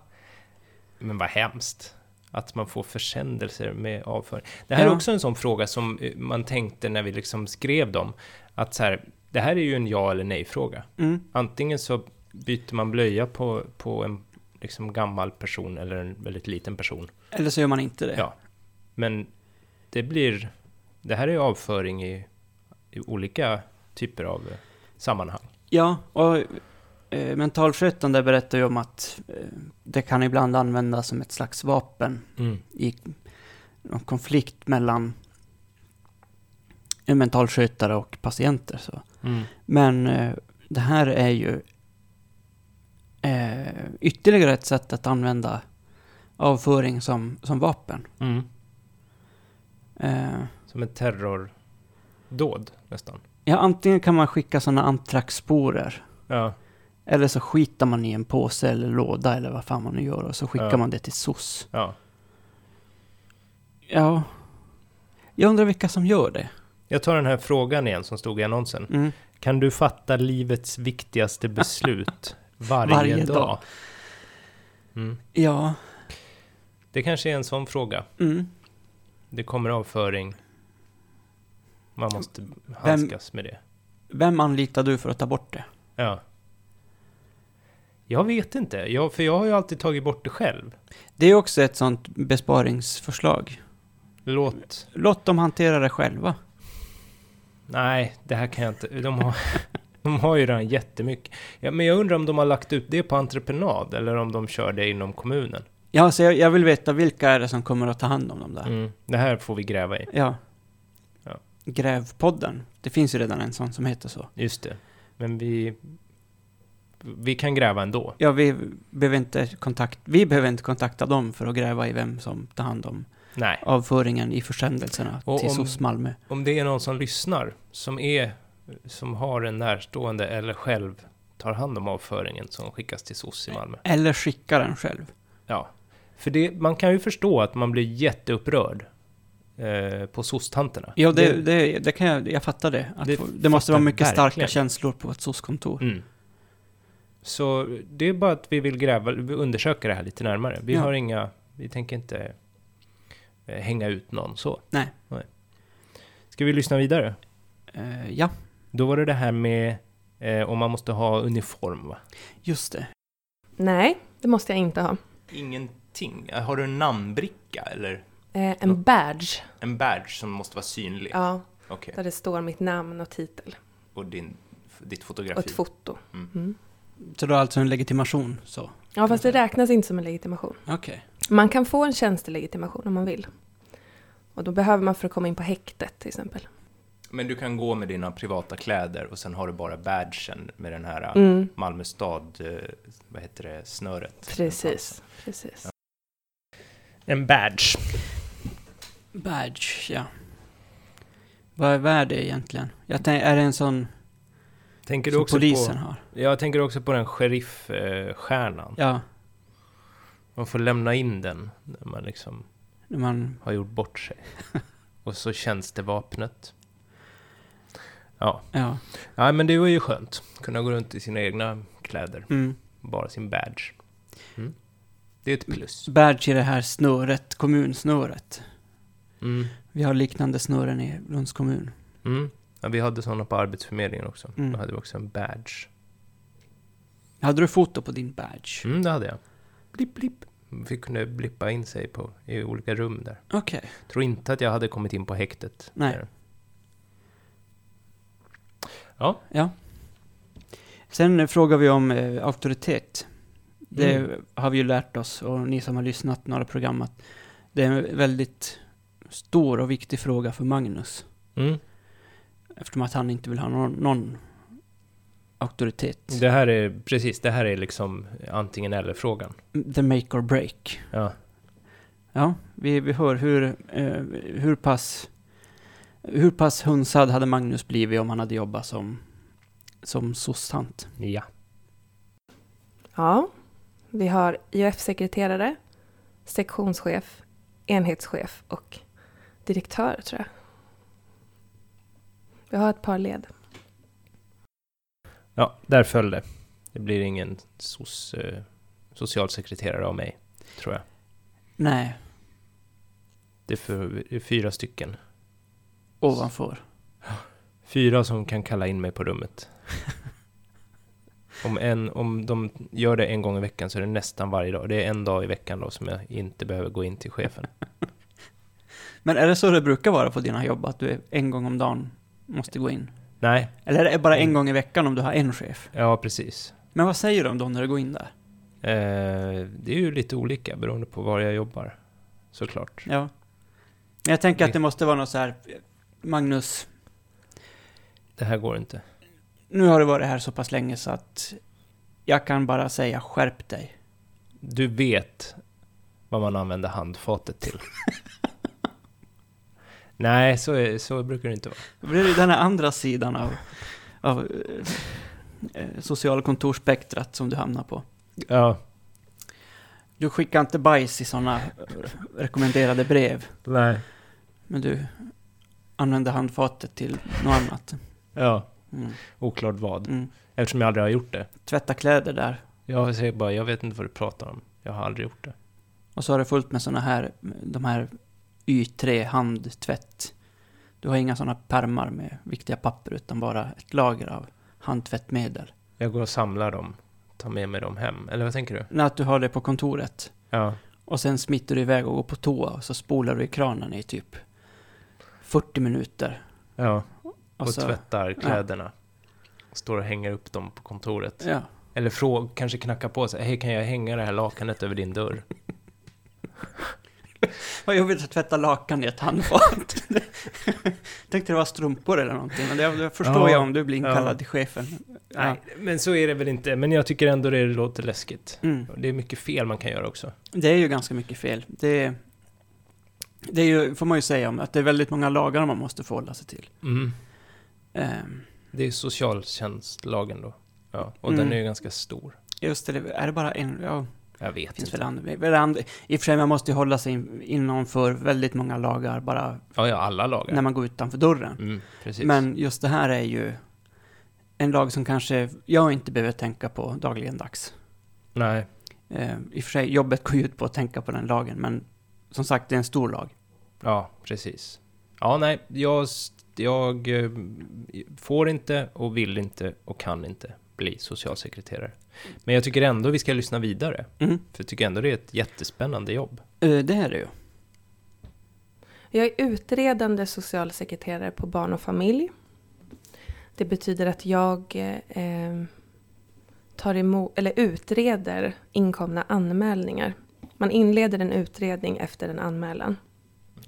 Speaker 1: Men vad hemskt. Att man får försändelser med avföring. Det här är
Speaker 2: Ja.
Speaker 1: också en sån fråga som eh, man tänkte när vi liksom skrev dem. Att så här, det här är ju en ja eller nej-fråga.
Speaker 2: Mm.
Speaker 1: Antingen så byter man blöja på, på en liksom gammal person eller en väldigt liten person.
Speaker 2: Eller så gör man inte det.
Speaker 1: Ja. Men det blir... Det här är ju avföring i, i olika typer av eh, sammanhang.
Speaker 2: Ja, och eh, mentalskötaren där berättar ju om att eh, det kan ibland användas som ett slags vapen i någon konflikt mellan en mentalskötare och patienter. Så. Men eh, det här är ju eh, ytterligare ett sätt att använda avföring som, som vapen. Eh,
Speaker 1: Som ett terrordåd nästan.
Speaker 2: ja, antingen kan man skicka sådana antraxsporer
Speaker 1: Ja.
Speaker 2: Eller så skitar man i en påse eller låda eller vad fan man nu gör och så skickar
Speaker 1: Ja.
Speaker 2: man det till SOS.
Speaker 1: ja.
Speaker 2: Ja. Jag undrar vilka som gör det.
Speaker 1: Jag tar den här frågan igen som stod i annonsen.
Speaker 2: Mm.
Speaker 1: Kan du fatta livets viktigaste beslut varje,
Speaker 2: Varje
Speaker 1: dag?
Speaker 2: dag.
Speaker 1: Mm.
Speaker 2: Ja.
Speaker 1: Det kanske är en sån fråga.
Speaker 2: Mm.
Speaker 1: Det kommer avföring. Man måste handskas med det.
Speaker 2: Vem anlitar du för att ta bort det?
Speaker 1: Ja. Jag vet inte, jag, för jag har ju alltid tagit bort det själv.
Speaker 2: Det är också ett sånt besparingsförslag.
Speaker 1: Låt...
Speaker 2: Låt dem hantera det själva.
Speaker 1: Nej, det här kan jag inte. De har, de har ju redan jättemycket. Ja, men jag undrar om de har lagt ut det på entreprenad eller om de kör det inom kommunen.
Speaker 2: Ja, så jag, jag vill veta vilka är det som kommer att ta hand om dem där.
Speaker 1: Mm. Det här får vi gräva i.
Speaker 2: Ja.
Speaker 1: Ja.
Speaker 2: Grävpodden. Det finns ju redan en sån som heter så.
Speaker 1: Just det. Men vi... Vi kan gräva ändå.
Speaker 2: Ja, vi behöver inte, kontakt, vi behöver inte kontakta dem för att gräva i vem som tar hand om
Speaker 1: Nej.
Speaker 2: avföringen i försändelserna
Speaker 1: Och
Speaker 2: till
Speaker 1: om-
Speaker 2: SOS Malmö.
Speaker 1: Om det är någon som lyssnar, som är... Som har en närstående eller själv tar hand om avföringen som skickas till SOS i Malmö.
Speaker 2: Eller skicka den själv.
Speaker 1: Ja. För det, man kan ju förstå att man blir jätteupprörd eh, på SOS-tanterna.
Speaker 2: Ja, det, det, det, kan jag, jag fattar det. Att
Speaker 1: Det
Speaker 2: det, det måste
Speaker 1: fattar
Speaker 2: vara
Speaker 1: jag
Speaker 2: mycket starka
Speaker 1: verkligen.
Speaker 2: känslor på ett SOS-kontor.
Speaker 1: Mm. Så det är bara att vi vill gräva, vi undersöka det här lite närmare. Vi
Speaker 2: Ja.
Speaker 1: har inga, vi tänker inte eh, hänga ut någon så.
Speaker 2: Nej.
Speaker 1: Ska vi lyssna vidare?
Speaker 2: Eh, ja,
Speaker 1: Då var det det här med eh, om man måste ha uniform va?
Speaker 2: just det.
Speaker 3: Nej, det måste jag inte ha.
Speaker 1: Ingenting. Har du en namnbricka eller
Speaker 3: Eh,
Speaker 1: Ja.
Speaker 3: en badge,
Speaker 1: en badge som måste vara synlig?
Speaker 3: ja,
Speaker 1: Okej.
Speaker 3: där det står mitt namn och titel.
Speaker 1: Och din, ditt
Speaker 3: Och
Speaker 1: fotografi?
Speaker 3: ett foto.
Speaker 1: Mm.
Speaker 3: Mm.
Speaker 2: Så du har alltså en legitimation, så.
Speaker 3: Ja, fast det räknas inte som en legitimation.
Speaker 2: Okej.
Speaker 3: Man kan få en tjänstelegitimation om man vill. Och då behöver man för att komma in på häktet till exempel.
Speaker 1: Men du kan gå med dina privata kläder och sen har du bara badgen med den här eh,
Speaker 3: Mm,
Speaker 1: Malmö stad, eh, vad heter det, snöret?
Speaker 3: precis. precis.
Speaker 1: En badge.
Speaker 2: Badge, ja. Vad är värd det egentligen? Jag tänk, är det en sån
Speaker 1: Tänker du
Speaker 2: som
Speaker 1: också
Speaker 2: polisen
Speaker 1: på,
Speaker 2: har?
Speaker 1: jag tänker också på den sheriffstjärnan.
Speaker 2: Ja,
Speaker 1: Man får lämna in den när man liksom
Speaker 2: när man...
Speaker 1: har gjort bort sig. Och så känns det vapnet. Ja,
Speaker 2: Ja.
Speaker 1: Nej, men det var ju skönt. Kunna gå runt i sina egna kläder,
Speaker 2: Mm.
Speaker 1: bara sin badge. Mm. Det är ett plus.
Speaker 2: Badge i det här snöret, kommunsnöret.
Speaker 1: Mm.
Speaker 2: Vi har liknande snören i Lunds kommun.
Speaker 1: Mm. Ja, vi hade sådana på Arbetsförmedlingen också.
Speaker 2: Mm.
Speaker 1: Då hade vi också en badge.
Speaker 2: Hade du foto på din badge?
Speaker 1: Mm, det hade jag. Blipp, blipp. vi kunde blippa in sig på, i olika rum där.
Speaker 2: Okej.
Speaker 1: Tror inte att jag hade kommit in på häktet.
Speaker 2: Nej.
Speaker 1: där.
Speaker 2: Ja. Sen eh, frågar vi om eh, auktoritet. Det
Speaker 1: Mm.
Speaker 2: har vi ju lärt oss och ni som har lyssnat några program att det är en väldigt stor och viktig fråga för Magnus.
Speaker 1: Mm.
Speaker 2: Eftersom att han inte vill ha någon, någon auktoritet.
Speaker 1: Det här är, precis, det här är liksom antingen eller-frågan.
Speaker 2: The make or break.
Speaker 1: Ja.
Speaker 2: Ja, vi, vi hör hur, eh, hur pass hur pass hunsad hade Magnus blivit om han hade jobbat som, som sosstant?
Speaker 1: ja.
Speaker 3: Ja, vi har IOF-sekreterare, sektionschef, enhetschef och direktör tror jag. Vi har ett par led.
Speaker 1: Ja, där föll det. Det blir ingen soc, eh, socialsekreterare av mig, tror jag.
Speaker 2: Nej,
Speaker 1: Det är, för, det är fyra stycken.
Speaker 2: ovanför.
Speaker 1: Fyra som kan kalla in mig på rummet. Om, en, om de gör det en gång i veckan så är det nästan varje dag. Det är en dag i veckan då som jag inte behöver gå in till chefen.
Speaker 2: Men är det så det brukar vara på dina jobb, att du är- en gång om dagen måste gå in?
Speaker 1: Nej,
Speaker 2: Eller är det bara en
Speaker 1: Mm.
Speaker 2: gång i veckan om du har en chef?
Speaker 1: ja precis.
Speaker 2: Men vad säger de då när du går in där?
Speaker 1: Eh, det är ju lite olika beroende på var jag jobbar. Såklart.
Speaker 2: Ja. Men jag tänker att det måste vara något så här, Magnus,
Speaker 1: Det här går inte.
Speaker 2: nu har du varit här så pass länge så att jag kan bara säga skärp dig.
Speaker 1: Du vet vad man använder handfatet till. Nej, så, är, så brukar det inte vara.
Speaker 2: Då blir det den här andra sidan av, av eh, eh, socialkontorsspektrat som du hamnar på.
Speaker 1: Ja,
Speaker 2: Du skickar inte bajs i sådana rekommenderade brev,
Speaker 1: nej.
Speaker 2: men du använder handfatet till något annat.
Speaker 1: Ja,
Speaker 2: Mm.
Speaker 1: oklart vad.
Speaker 2: Mm.
Speaker 1: Eftersom jag aldrig har gjort det.
Speaker 2: Tvätta kläder där,
Speaker 1: Jag säger bara, jag vet inte vad du pratar om. Jag har aldrig gjort det.
Speaker 2: och så har du fullt med sådana här, de här Y3-handtvätt. Du har inga sådana pärmar med viktiga papper, utan bara ett lager av handtvättmedel.
Speaker 1: Jag går och samlar dem. Tar med mig dem hem. Eller vad tänker du?
Speaker 2: När att du har det på kontoret,
Speaker 1: Ja,
Speaker 2: Och sen smiter du iväg och går på toa och så spolar du i kranen i typ 40 minuter.
Speaker 1: ja.
Speaker 2: Och
Speaker 1: Och
Speaker 2: så,
Speaker 1: tvättar kläderna. Står och hänger upp dem på kontoret.
Speaker 2: Ja.
Speaker 1: Eller fråg, kanske knacka på sig. Hej, kan jag hänga det här lakanet över din dörr?
Speaker 2: Vad jobbigt att tvätta lakan i ett handfat. Tänkte det var strumpor eller någonting, men det, det förstår
Speaker 1: Ja,
Speaker 2: jag om du blir inkallad
Speaker 1: ja.
Speaker 2: till chefen. Ja.
Speaker 1: Nej, men så är det väl inte. Men jag tycker ändå det låter läskigt.
Speaker 2: Mm.
Speaker 1: Det är mycket fel man kan göra också.
Speaker 2: Det är ju ganska mycket fel. Det, det är ju, får man ju säga om, att det är väldigt många lagar man måste förhålla sig till.
Speaker 1: Mm.
Speaker 2: Ehm,
Speaker 1: Det är socialtjänstlagen då. Ja, och
Speaker 2: Mm.
Speaker 1: den är ju ganska stor.
Speaker 2: just det, är det bara en, ja,
Speaker 1: Jag
Speaker 2: det
Speaker 1: vet
Speaker 2: finns
Speaker 1: inte.
Speaker 2: väl andra, väl andra. I och för sig, man måste ju hålla sig in, innanför väldigt många lagar bara
Speaker 1: Ja, ja, alla lagar.
Speaker 2: när man går utanför dörren.
Speaker 1: Mm, precis.
Speaker 2: Men just det här är ju en lag som kanske jag inte behöver tänka på dagligen dags.
Speaker 1: Nej,
Speaker 2: Eh, I och för sig, jobbet går ju ut på att tänka på den lagen, men som sagt, det är en stor lag.
Speaker 1: ja, precis. Ja, nej, jag, jag eh, får inte och vill inte och kan inte bli socialsekreterare. Men jag tycker ändå vi ska lyssna vidare.
Speaker 2: Mm.
Speaker 1: För jag tycker ändå det är ett jättespännande jobb.
Speaker 2: Eh, det är det ju.
Speaker 3: Jag är utredande socialsekreterare på barn och familj. Det betyder att jag eh, tar emot, eller utreder inkomna anmälningar. Man inleder en utredning efter en anmälan.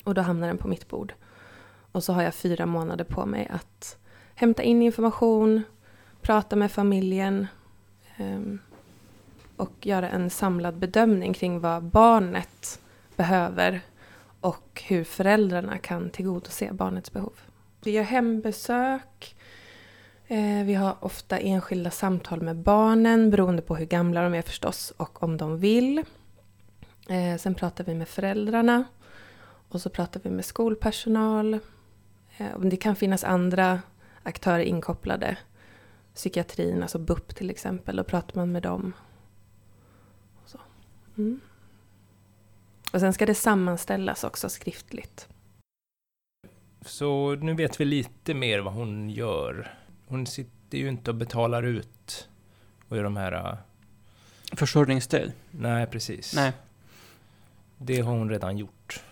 Speaker 3: Och då hamnar den på mitt bord. Och så har jag fyra månader på mig att hämta in information, prata med familjen eh, och göra en samlad bedömning kring vad barnet behöver och hur föräldrarna kan tillgodose barnets behov. Vi gör hembesök. eh, Vi har ofta enskilda samtal med barnen beroende på hur gamla de är förstås och om de vill. Eh, Sen pratar vi med föräldrarna och så pratar vi med skolpersonal. Eh, och Det kan finnas andra aktörer inkopplade. Psykiatrin, alltså BUP till exempel, då pratar man med dem. Och, så. Mm. och sen ska det sammanställas också skriftligt.
Speaker 1: Så nu vet vi lite mer vad hon gör. Hon sitter ju inte och betalar ut och gör de här... äh,
Speaker 2: Försörjningsstöd.
Speaker 1: Nej, precis.
Speaker 2: Nej.
Speaker 1: Det har hon redan gjort.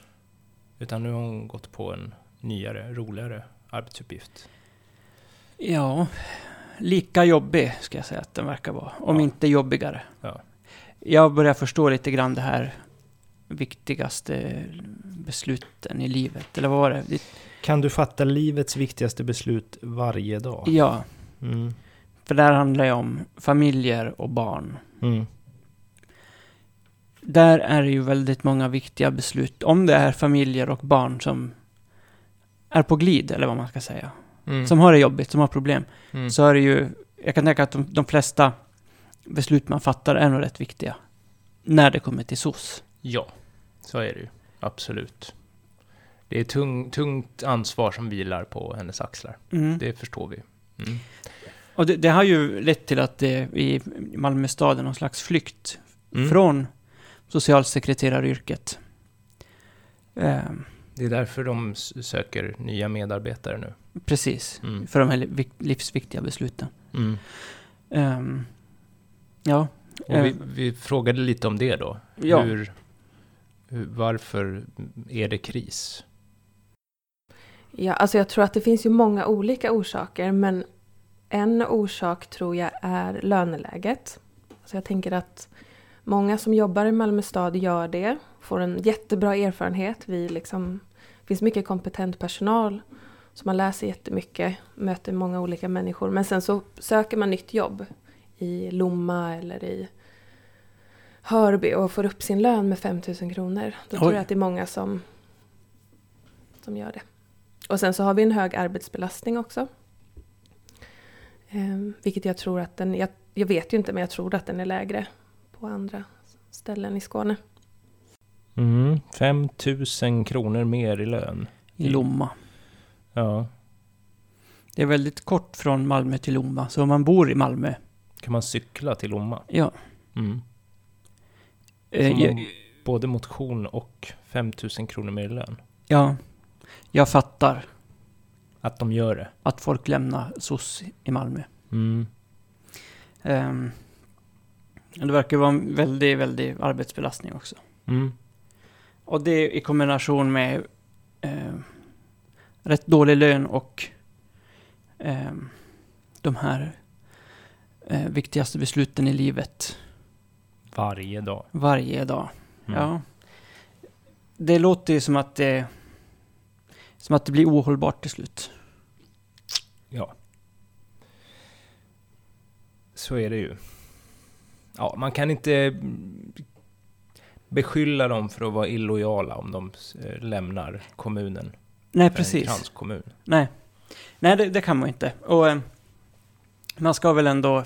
Speaker 1: Utan nu har hon gått på en nyare, roligare arbetsuppgift.
Speaker 2: Ja, lika jobbig ska jag säga att den verkar vara. Om
Speaker 1: Ja.
Speaker 2: inte jobbigare.
Speaker 1: Ja.
Speaker 2: Jag börjar förstå lite grann det här viktigaste besluten i livet. Eller vad var det? Det-
Speaker 1: Kan du fatta livets viktigaste beslut varje dag?
Speaker 2: Ja,
Speaker 1: Mm.
Speaker 2: för där handlar det om familjer och barn.
Speaker 1: Mm.
Speaker 2: Där är det ju väldigt många viktiga beslut. Om det är familjer och barn som är på glid, eller vad man ska säga.
Speaker 1: Mm.
Speaker 2: Som har det jobbigt, som har problem.
Speaker 1: mm.
Speaker 2: så är det ju, jag kan tänka att de, de flesta beslut man fattar är nog rätt viktiga. När det kommer till SOS.
Speaker 1: Ja, så är det ju. Absolut. Det är tung, tungt ansvar som vilar på hennes axlar. Det förstår vi. Mm.
Speaker 2: Och det, det har ju lett till att det i Malmö stad är någon slags flykt
Speaker 1: Mm.
Speaker 2: från socialsekreteraryrket. Ehm,
Speaker 1: Det är därför de s- söker nya medarbetare nu.
Speaker 2: precis,
Speaker 1: Mm.
Speaker 2: för de här li- vik- livsviktiga besluten.
Speaker 1: Mm.
Speaker 2: Ehm, ja,
Speaker 1: Och vi, vi frågade lite om det då.
Speaker 2: Eh. Ja.
Speaker 1: Hur, hur, varför är det kris?
Speaker 3: Ja, alltså jag tror att det finns ju många olika orsaker, men en orsak tror jag är löneläget. Alltså jag tänker att många som jobbar i Malmö stad gör det, får en jättebra erfarenhet. Vi liksom, det finns mycket kompetent personal, så man lär sig jättemycket, möter många olika människor. Men sen så söker man nytt jobb i Lomma eller i Hörby och får upp sin lön med 5 000 kronor. Då tror
Speaker 2: Oj.
Speaker 3: jag att det är många som, som gör det. Och sen så har vi en hög arbetsbelastning också. Ehm, vilket jag tror att den, jag, jag vet ju inte men jag tror att den är lägre på andra ställen i Skåne.
Speaker 1: Mm. 5 000 kronor mer i lön.
Speaker 2: i Lomma.
Speaker 1: Ja.
Speaker 2: Det är väldigt kort från Malmö till Lomma, så om man bor i Malmö,
Speaker 1: Kan man cykla till Lomma?
Speaker 2: ja.
Speaker 1: Mm.
Speaker 2: Eh,
Speaker 1: Som
Speaker 2: jag-
Speaker 1: om både motion och 5 000 kronor mer i lön.
Speaker 2: Ja, jag fattar
Speaker 1: Att de gör det.
Speaker 2: att folk lämnar SOS i Malmö.
Speaker 1: Mm.
Speaker 2: Ehm, det verkar vara en väldigt, väldigt arbetsbelastning också.
Speaker 1: Mm.
Speaker 2: Och det i kombination med ehm, rätt dålig lön och ehm, de här eh, viktigaste besluten i livet
Speaker 1: Varje dag.
Speaker 2: varje dag.
Speaker 1: Mm.
Speaker 2: Ja. Det låter ju som att det, som att det blir ohållbart till slut.
Speaker 1: Ja. Så är det ju. Ja, man kan inte mm, beskylla dem för att vara illojala om de eh, lämnar kommunen. för
Speaker 2: Nej,
Speaker 1: en
Speaker 2: precis.
Speaker 1: Kranskommun.
Speaker 2: Nej, Nej det, det kan man inte. Och eh, man ska väl ändå,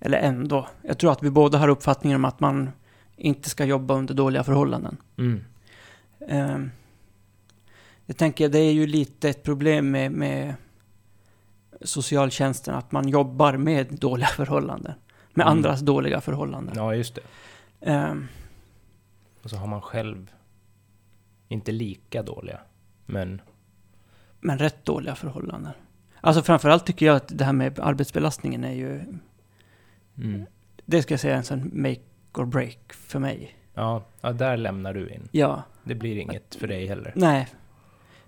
Speaker 2: eller ändå, jag tror att vi båda har uppfattningen om att man inte ska jobba under dåliga förhållanden.
Speaker 1: Mm.
Speaker 2: Eh, jag tänker, det är ju lite ett problem med, med socialtjänsten, att man jobbar med dåliga förhållanden. Med
Speaker 1: Mm.
Speaker 2: andras dåliga förhållanden.
Speaker 1: Ja, just det.
Speaker 2: Eh,
Speaker 1: Och så har man själv inte lika dåliga, men
Speaker 2: men rätt dåliga förhållanden. Alltså framförallt tycker jag att det här med arbetsbelastningen är ju
Speaker 1: mm.
Speaker 2: det ska jag säga är en sån make or break för mig.
Speaker 1: ja, ja, där lämnar du in.
Speaker 2: Ja,
Speaker 1: Det blir inget för dig heller.
Speaker 2: nej.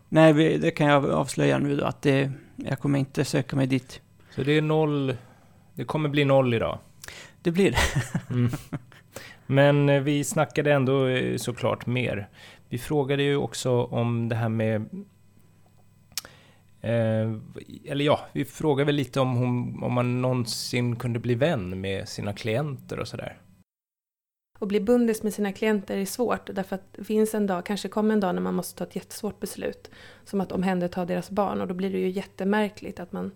Speaker 2: Nej, vi- det kan jag avslöja nu då att det, jag kommer inte söka mig dit.
Speaker 1: Så det är noll. Det kommer bli noll idag.
Speaker 2: Det blir det.
Speaker 1: Mm. Men eh, vi snackade ändå eh, såklart mer. Vi frågade ju också om det här med... Eh, eller ja, vi frågade väl lite om, hon, om man någonsin kunde bli vän med sina klienter och sådär.
Speaker 3: Att bli bundis med sina klienter är svårt därför att det finns en dag, kanske kommer en dag när man måste ta ett jättesvårt beslut. Som att omhänderta deras barn och då blir det ju jättemärkligt att man...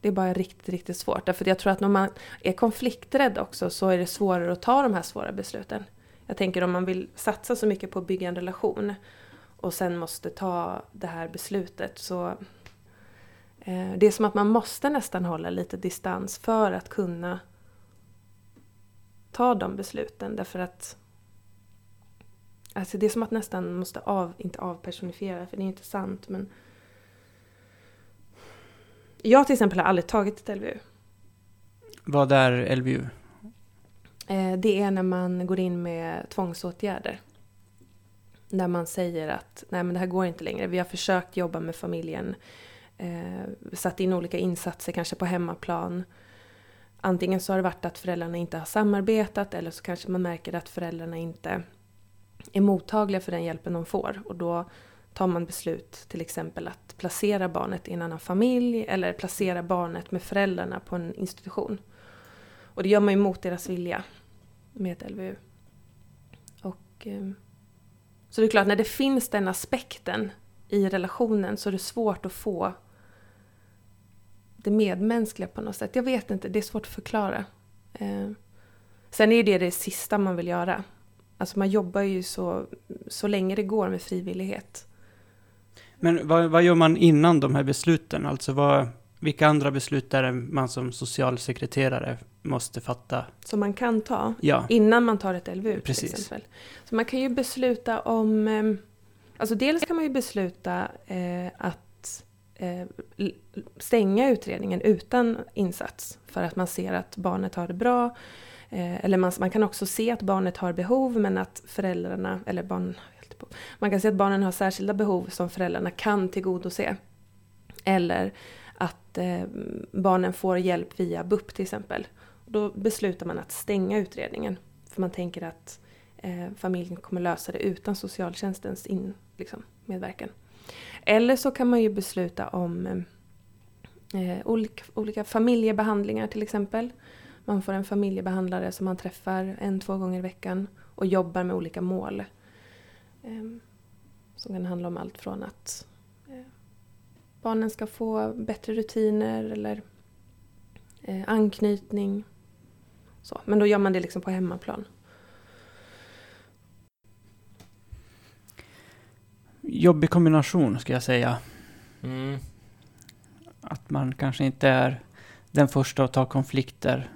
Speaker 3: Det är bara riktigt, riktigt svårt. Därför att jag tror att när man är konflikträdd också så är det svårare att ta de här svåra besluten. Jag tänker om man vill satsa så mycket på att bygga en relation och sen måste ta det här beslutet så... Eh, det är som att man måste nästan hålla lite distans för att kunna ta de besluten därför att Alltså det är som att nästan måste av, inte avpersonifiera för det är inte sant men Jag till exempel har aldrig tagit ett LVU.
Speaker 2: Vad är LVU?
Speaker 3: Eh, Eh, det är när man går in med tvångsåtgärder. När man säger att nej men det här går inte längre. Vi har försökt jobba med familjen. Eh, satt in olika insatser kanske på hemmaplan. Antingen så har det varit att föräldrarna inte har samarbetat eller så kanske man märker att föräldrarna inte är mottagliga för den hjälpen de får. Och då tar man beslut till exempel att placera barnet i en annan familj eller placera barnet med föräldrarna på en institution. Och det gör man ju mot deras vilja med ett LVU. Och, eh, så det är klart, när det finns den aspekten i relationen så är det svårt att få det medmänskliga på något sätt. Jag vet inte, det är svårt att förklara. Eh, sen är ju det det sista man vill göra. Alltså man jobbar ju så, så länge det går med frivillighet.
Speaker 2: Men vad, vad gör man innan de här besluten? Alltså vad, vilka andra beslut är det man som socialsekreterare måste fatta?
Speaker 3: Som man kan ta
Speaker 2: Ja,
Speaker 3: innan man tar ett LVU
Speaker 2: Precis.
Speaker 3: till exempel. Så man kan ju besluta om... eh, Alltså dels kan man ju besluta eh, att eh, l- stänga utredningen utan insats för att man ser att barnet har det bra. Eh, eller man, man kan också se att barnet har behov men att föräldrarna, eller barn, jag höll på. man kan se att barnen har särskilda behov som föräldrarna kan tillgodose. Eller att eh, barnen får hjälp via BUP till exempel. Då beslutar man att stänga utredningen. För man tänker att eh, familjen kommer lösa det utan socialtjänstens in, liksom, medverkan. Eller så kan man ju besluta om eh, olika, olika familjebehandlingar till exempel. Man får en familjebehandlare som man träffar en, två gånger i veckan och jobbar med olika mål. Eh, som kan handla om allt från att eh, barnen ska få bättre rutiner eller eh, anknytning. Så. Men då gör man det liksom på hemmaplan.
Speaker 2: jobbig kombination ska jag säga.
Speaker 1: Mm.
Speaker 2: Att man kanske inte är den första att ta konflikter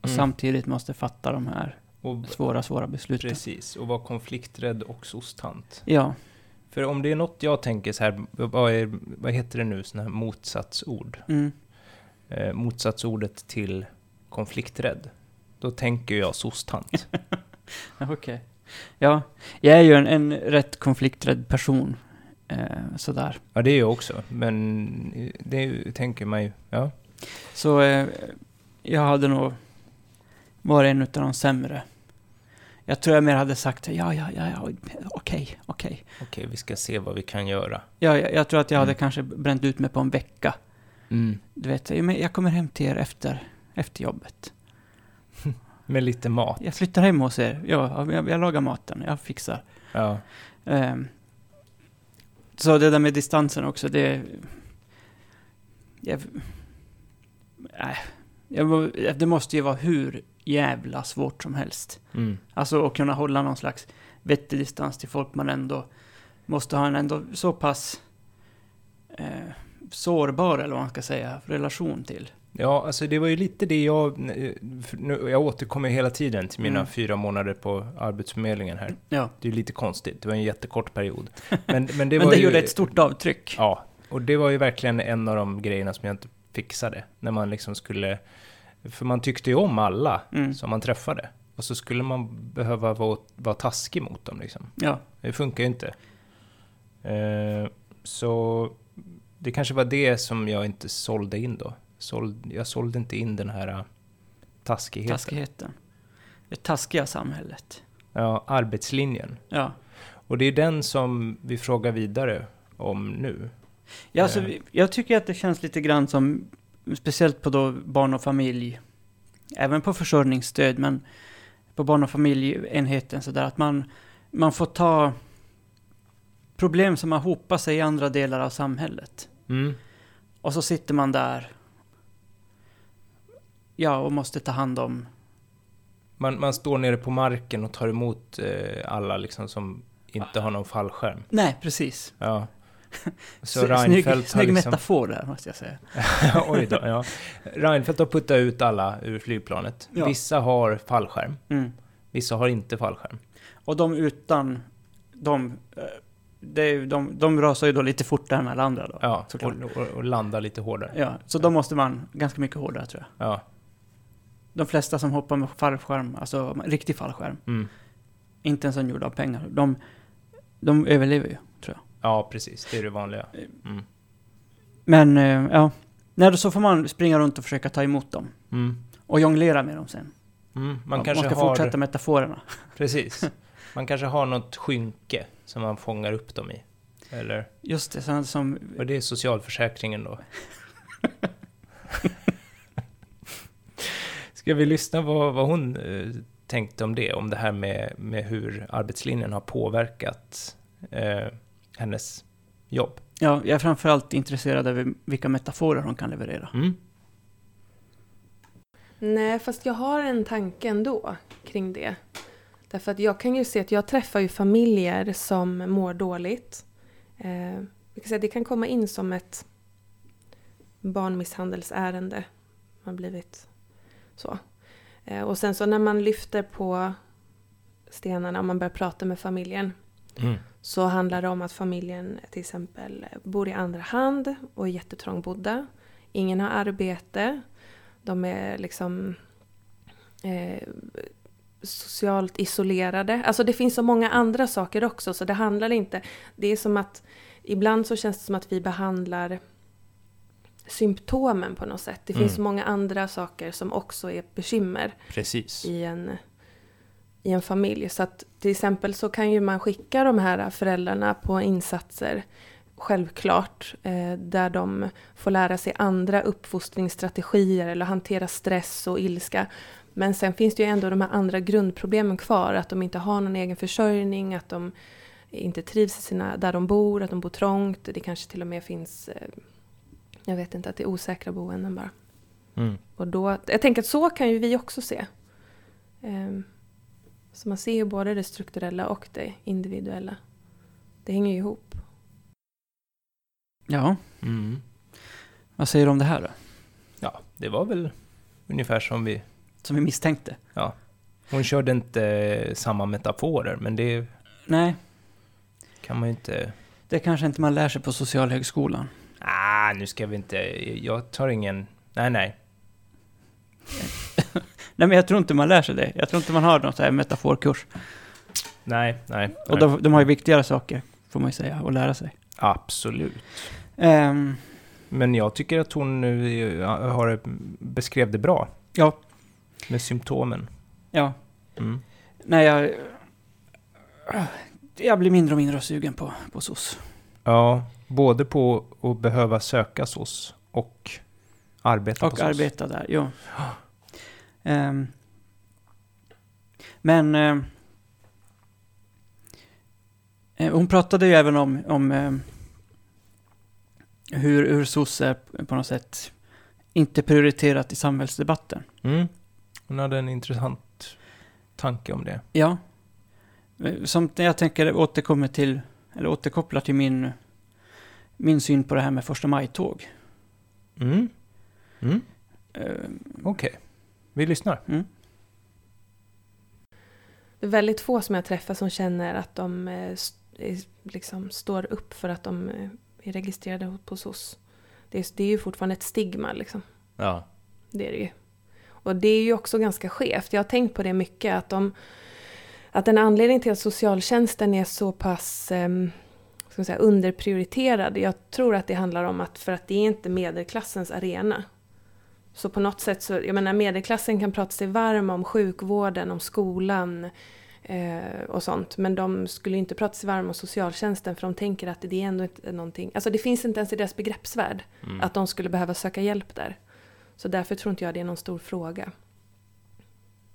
Speaker 2: och
Speaker 1: Mm.
Speaker 2: samtidigt måste fatta de här
Speaker 1: Och,
Speaker 2: svåra, svåra besluten.
Speaker 1: precis, och vara konflikträdd och sostant.
Speaker 2: Ja,
Speaker 1: För om det är något jag tänker så här, vad, är, vad heter det nu, sådana här motsatsord?
Speaker 2: mm.
Speaker 1: Eh, motsatsordet till konflikträdd. Då tänker jag sostant.
Speaker 2: Ja, okej. Ja, jag är ju en, en rätt konflikträdd person. Eh, sådär.
Speaker 1: ja, det är jag också, men det är ju- tänker man ju. Ja.
Speaker 2: Så eh, jag hade nog varit en utav de sämre. Jag tror jag mer hade sagt ja, ja, ja, ja okej, okej.
Speaker 1: Okej, vi ska se vad vi kan göra.
Speaker 2: Ja, jag, jag tror att jag hade
Speaker 1: Mm.
Speaker 2: kanske bränt ut mig på en vecka. Du vet, "Ja, men jag kommer hem till er efter, efter jobbet.
Speaker 1: Med lite mat.
Speaker 2: Jag flyttar hem hos er. Ja, jag, jag lagar maten, jag fixar.
Speaker 1: Ja.
Speaker 2: Ehm, så det där med distansen också, det... Jag, nej, jag, må- det måste ju vara hur jävla svårt som helst.
Speaker 1: Mm.
Speaker 2: Alltså att kunna hålla någon slags vettig distans till folk man ändå måste ha en ändå så pass eh, sårbar, eller vad man ska säga, relation till.
Speaker 1: Ja, alltså det var ju lite det jag... eh, för Nu, jag återkommer hela tiden till mina
Speaker 2: Mm.
Speaker 1: fyra månader på Arbetsförmedlingen här.
Speaker 2: Ja.
Speaker 1: Det är ju lite konstigt, det var en jättekort period. Men, men det
Speaker 2: Det
Speaker 1: var
Speaker 2: Men det
Speaker 1: ju,
Speaker 2: gjorde ett stort avtryck.
Speaker 1: Ja, och det var ju verkligen en av de grejerna som jag inte fixade. När man liksom skulle... För man tyckte ju om alla
Speaker 2: Mm.
Speaker 1: som man träffade. Och så skulle man behöva vara, vara taskig mot dem liksom.
Speaker 2: Ja.
Speaker 1: Det funkar ju inte. Eh, så det kanske var det som jag inte sålde in då. Såld, jag sålde inte in den här eh, taskigheten.
Speaker 2: Taskigheten. Det taskiga samhället.
Speaker 1: Ja, arbetslinjen.
Speaker 2: Ja.
Speaker 1: Och det är den som vi frågar vidare om nu.
Speaker 2: Ja, alltså,
Speaker 1: Eh.
Speaker 2: vi- jag tycker att det känns lite grann som, speciellt på då barn och familj, även på försörjningsstöd, men på barn och familjenheten sådär, att man, man får ta problem som har hopat sig i andra delar av samhället.
Speaker 1: Mm.
Speaker 2: Och så sitter man där, ja, och måste ta hand om,
Speaker 1: Man, man står nere på marken och tar emot eh, alla liksom som inte har någon fallskärm.
Speaker 2: nej, precis.
Speaker 1: Ja. Så
Speaker 2: Sny- snygg
Speaker 1: Reinfeldt har
Speaker 2: snygg
Speaker 1: liksom...
Speaker 2: metafor där, måste jag säga.
Speaker 1: Oj då, ja. Reinfeldt har puttat ut alla ur flygplanet.
Speaker 2: Ja.
Speaker 1: Vissa har fallskärm,
Speaker 2: Mm.
Speaker 1: vissa har inte fallskärm.
Speaker 2: Och de utan, de, eh, det är ju- de, de rasar ju då lite fortare än alla andra då.
Speaker 1: Ja,
Speaker 2: såklart.
Speaker 1: och, och, och landar lite hårdare.
Speaker 2: Ja, så då måste man ganska mycket hårdare tror jag.
Speaker 1: Ja.
Speaker 2: de flesta som hoppar med fallskärm, alltså riktig fallskärm,
Speaker 1: Mm.
Speaker 2: inte en sån gjord av pengar, de, de överlever ju, tror jag.
Speaker 1: Ja, precis. Det är det vanliga. Mm.
Speaker 2: Men, eh, ja. Nej, då så får man springa runt och försöka ta emot dem.
Speaker 1: Mm.
Speaker 2: Och jonglera med dem sen.
Speaker 1: Mm. Man
Speaker 2: Man, man
Speaker 1: kanske
Speaker 2: ska
Speaker 1: har...
Speaker 2: fortsätta metaforerna.
Speaker 1: Precis. Man kanske har något skynke som man fångar upp dem i. Eller?
Speaker 2: Just det, sådana som...
Speaker 1: Och det är socialförsäkringen då. Ska vi lyssna på vad hon eh, tänkte om det? Om det här med, med hur arbetslinjen har påverkat eh, hennes jobb.
Speaker 2: Ja, jag är framförallt intresserad av vilka metaforer hon kan leverera.
Speaker 1: Mm.
Speaker 3: Nej, fast jag har en tanke ändå kring det. Därför att jag kan ju se att jag träffar ju familjer som mår dåligt. Eh, vi kan säga att det kan komma in som ett barnmisshandelsärende. Man har blivit så. Eh, och sen så när man lyfter på stenarna och man börjar prata med familjen
Speaker 1: Mm.
Speaker 3: så handlar det om att familjen till exempel bor i andra hand och är jättetrångbodda. Ingen har arbete. De är liksom eh, socialt isolerade. Alltså det finns så många andra saker också så det handlar inte... Det är som att ibland så känns det som att vi behandlar symptomen på något sätt. Det finns
Speaker 1: Mm.
Speaker 3: så många andra saker som också är bekymmer
Speaker 1: Precis.
Speaker 3: i en, i en familj. Så att till exempel så kan ju man skicka de här föräldrarna på insatser, självklart, eh, där de får lära sig andra uppfostringsstrategier eller hantera stress och ilska. Men sen finns det ju ändå de här andra grundproblemen kvar, att de inte har någon egen försörjning, att de inte trivs i sina, där de bor, att de bor trångt, det kanske till och med finns, eh, jag vet inte, att det är osäkra boenden bara.
Speaker 1: Mm.
Speaker 3: Och då, jag tänker att så kan ju vi också se. Ehm, Så man ser ju både det strukturella och det individuella. Det hänger ju ihop.
Speaker 2: Ja,
Speaker 1: Mm.
Speaker 2: vad säger du om det här då?
Speaker 1: Ja, det var väl ungefär som vi...
Speaker 2: Som vi misstänkte.
Speaker 1: Hon körde inte samma metaforer, men det
Speaker 2: Nej,
Speaker 1: kan man ju inte...
Speaker 2: det kanske inte man lär sig på Socialhögskolan.
Speaker 1: Ah, nu ska vi inte... Jag tar ingen... Nej, nej.
Speaker 2: Nej, men jag tror inte man lär sig det. Jag tror inte man har någon sån här metaforkurs.
Speaker 1: Nej, nej. nej.
Speaker 2: Och de, de har ju viktigare saker, får man ju säga, att lära sig.
Speaker 1: Absolut.
Speaker 2: Ehm,
Speaker 1: Men jag tycker att hon eh, har beskrev det bra
Speaker 2: ja,
Speaker 1: med symptomen.
Speaker 2: ja.
Speaker 1: Mm.
Speaker 2: Nej, jag... Jag blir mindre och mindre sugen på, på SOS.
Speaker 1: Ja, både på att behöva söka SOS och arbeta på
Speaker 2: Och
Speaker 1: SOS.
Speaker 2: arbeta där, jo. Ehm, men... ehm, eh, hon pratade ju även om, om ehm, hur, hur SOS är på något sätt inte prioriterat i samhällsdebatten.
Speaker 1: Mm. Hon hade en intressant tanke om det.
Speaker 2: Ja. Eh, Som jag tänker återkommer till, eller återkopplar till min, min syn på det här med första maj-tåg.
Speaker 1: Mm. Mm.
Speaker 2: Ehm,
Speaker 1: Okej, vi lyssnar.
Speaker 2: mm.
Speaker 3: Det är väldigt få som jag träffar som känner att de eh, st- eh, liksom står upp för att de eh, är registrerade på SOS. Det är, det är ju fortfarande ett stigma liksom.
Speaker 1: Ja.
Speaker 3: Det är det ju. Och det är ju också ganska skevt. Jag har tänkt på det mycket. Att, de, att en anledning till att socialtjänsten är så pass um, ska man säga, underprioriterad. Jag tror att det handlar om att för att det är inte medelklassens arena. Så på något sätt så, jag menar medelklassen kan prata sig varm om sjukvården, om skolan eh, och sånt. Men de skulle inte prata sig varm om socialtjänsten för de tänker att det är ändå inte någonting. Alltså det finns inte ens i deras begreppsvärld
Speaker 1: Mm.
Speaker 3: att de skulle behöva söka hjälp där. Så därför tror inte jag det är någon stor fråga.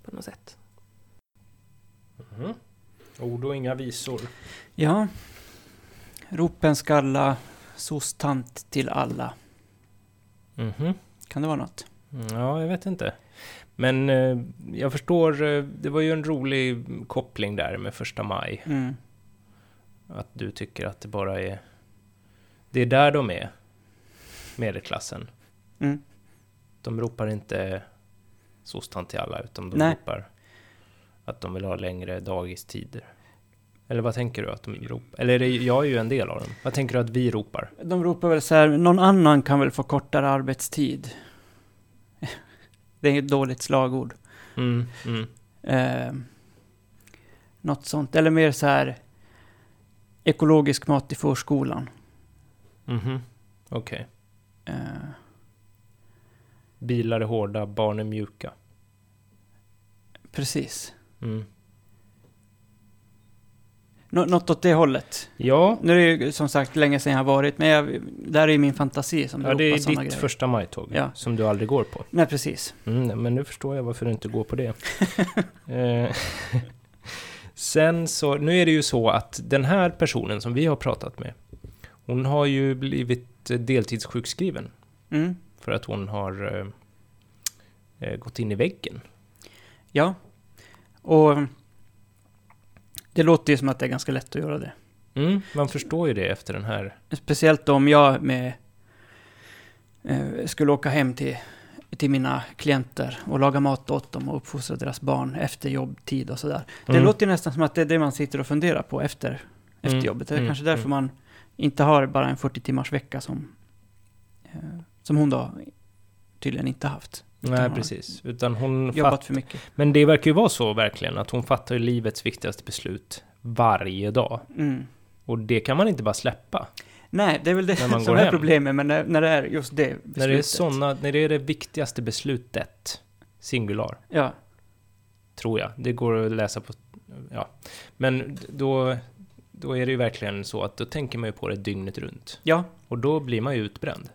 Speaker 3: På något sätt.
Speaker 1: Mm-hmm. Ord och inga visor.
Speaker 2: Ja. Ropen skalla, sostant till alla.
Speaker 1: Mhm.
Speaker 2: Kan det vara något?
Speaker 1: Ja, jag vet inte. Men eh, jag förstår, eh, det var ju en rolig koppling där med första maj.
Speaker 2: Mm.
Speaker 1: Att du tycker att det bara är... Det är där de är, medelklassen.
Speaker 2: Mm.
Speaker 1: De ropar inte sostan till alla, utan de
Speaker 2: Nej.
Speaker 1: ropar att de vill ha längre dagistider. Eller vad tänker du att de ropar? Eller är det, jag är ju en del av dem. Vad tänker du att vi ropar?
Speaker 2: De ropar väl så här, någon annan kan väl få kortare arbetstid? Det är ett dåligt slagord.
Speaker 1: Mm, mm.
Speaker 2: Eh, något sånt. Eller mer så här ekologisk mat i förskolan.
Speaker 1: Mhm. Okej.
Speaker 2: Eh,
Speaker 1: Bilar är hårda, barn är mjuka.
Speaker 2: precis.
Speaker 1: Mm.
Speaker 2: Nå- något åt det hållet.
Speaker 1: Ja,
Speaker 2: Nu är det ju som sagt länge sedan jag har varit, men jag, där är ju min fantasi som
Speaker 1: ja, det är
Speaker 2: ropar
Speaker 1: ditt
Speaker 2: sådana grejer.
Speaker 1: första majtåg
Speaker 2: Ja.
Speaker 1: som du aldrig går på.
Speaker 2: Nej, precis.
Speaker 1: Mm, men nu förstår jag varför du inte går på det. Eh, Sen så, nu är det ju så att den här personen som vi har pratat med, hon har ju blivit eh, deltidssjukskriven
Speaker 2: Mm.
Speaker 1: för att hon har eh, eh, gått in i väggen.
Speaker 2: Ja. Och det låter ju som att det är ganska lätt att göra det.
Speaker 1: Mm, man förstår ju det efter den här.
Speaker 2: Speciellt om jag med, eh, skulle åka hem till, till mina klienter och laga mat åt dem och uppfostra deras barn efter jobbtid och sådär. Det
Speaker 1: Mm.
Speaker 2: låter ju nästan som att det är det man sitter och funderar på efter, efter
Speaker 1: Mm,
Speaker 2: jobbet. Det är
Speaker 1: mm,
Speaker 2: kanske därför
Speaker 1: mm.
Speaker 2: man inte har bara en 40 timmars vecka som, eh, som hon då tydligen inte haft. Utan
Speaker 1: Nej,
Speaker 2: har
Speaker 1: precis. Utan hon
Speaker 2: Jobbat
Speaker 1: fatt,
Speaker 2: för mycket.
Speaker 1: Men det verkar ju vara så verkligen, att hon fattar ju livets viktigaste beslut varje dag.
Speaker 2: Mm.
Speaker 1: Och det kan man inte bara släppa.
Speaker 2: Nej, det är väl det
Speaker 1: När man
Speaker 2: som
Speaker 1: går
Speaker 2: är
Speaker 1: hem.
Speaker 2: problemet, men när, när det är just det beslutet.
Speaker 1: När det, är såna, när det är det viktigaste beslutet, singular,
Speaker 2: Ja,
Speaker 1: tror jag. Det går att läsa på... Ja. Men då, då är det ju verkligen så att då tänker man ju på det dygnet runt.
Speaker 2: ja.
Speaker 1: Och då blir man ju utbränd.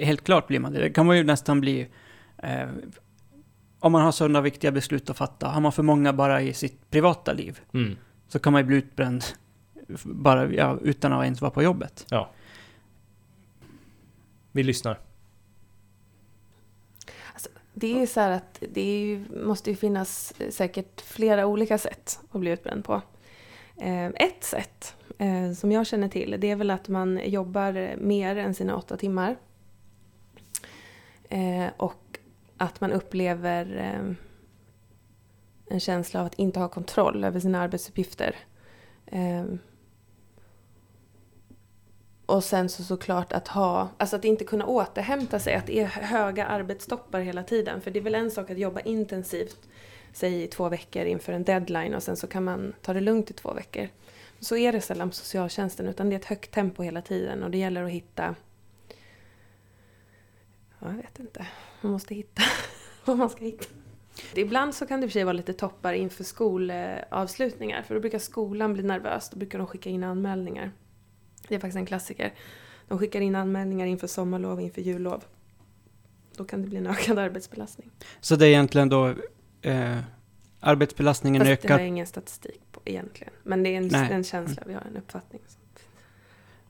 Speaker 2: Helt klart blir man det. Det kan man ju nästan bli... Eh, om man har sådana viktiga beslut att fatta, har man för många bara i sitt privata liv,
Speaker 1: Mm.
Speaker 2: så kan man ju bli utbränd f- bara, ja, utan att ens vara på jobbet.
Speaker 1: Vi lyssnar.
Speaker 3: Det är så här att det är ju, måste ju finnas eh, säkert flera olika sätt att bli utbränd på. Eh, Ett sätt eh, som jag känner till det är väl att man jobbar mer än sina åtta timmar. Eh, Och att man upplever eh, en känsla av att inte ha kontroll över sina arbetsuppgifter. Eh, Och sen så såklart att ha, alltså att inte kunna återhämta sig, att det är höga arbetstoppar hela tiden. För det är väl en sak att jobba intensivt, säg i två veckor inför en deadline och sen så kan man ta det lugnt i två veckor. Så är det sällan på socialtjänsten utan det är ett högt tempo hela tiden och det gäller att hitta, ja, jag vet inte, man måste hitta vad man ska hitta. Ibland så kan det i och för sig vara lite toppar inför skolavslutningar för då brukar skolan bli nervös, då brukar de skicka in anmälningar. Det är faktiskt en klassiker. De skickar in anmälningar inför sommarlov, inför jullov. Då kan det bli en ökad arbetsbelastning.
Speaker 2: Så det är egentligen då... Eh, arbetsbelastningen
Speaker 3: Fast det har
Speaker 2: ökar,
Speaker 3: jag ingen statistik på egentligen. Men det är en,
Speaker 2: Nej.
Speaker 3: en känsla, vi har en uppfattning.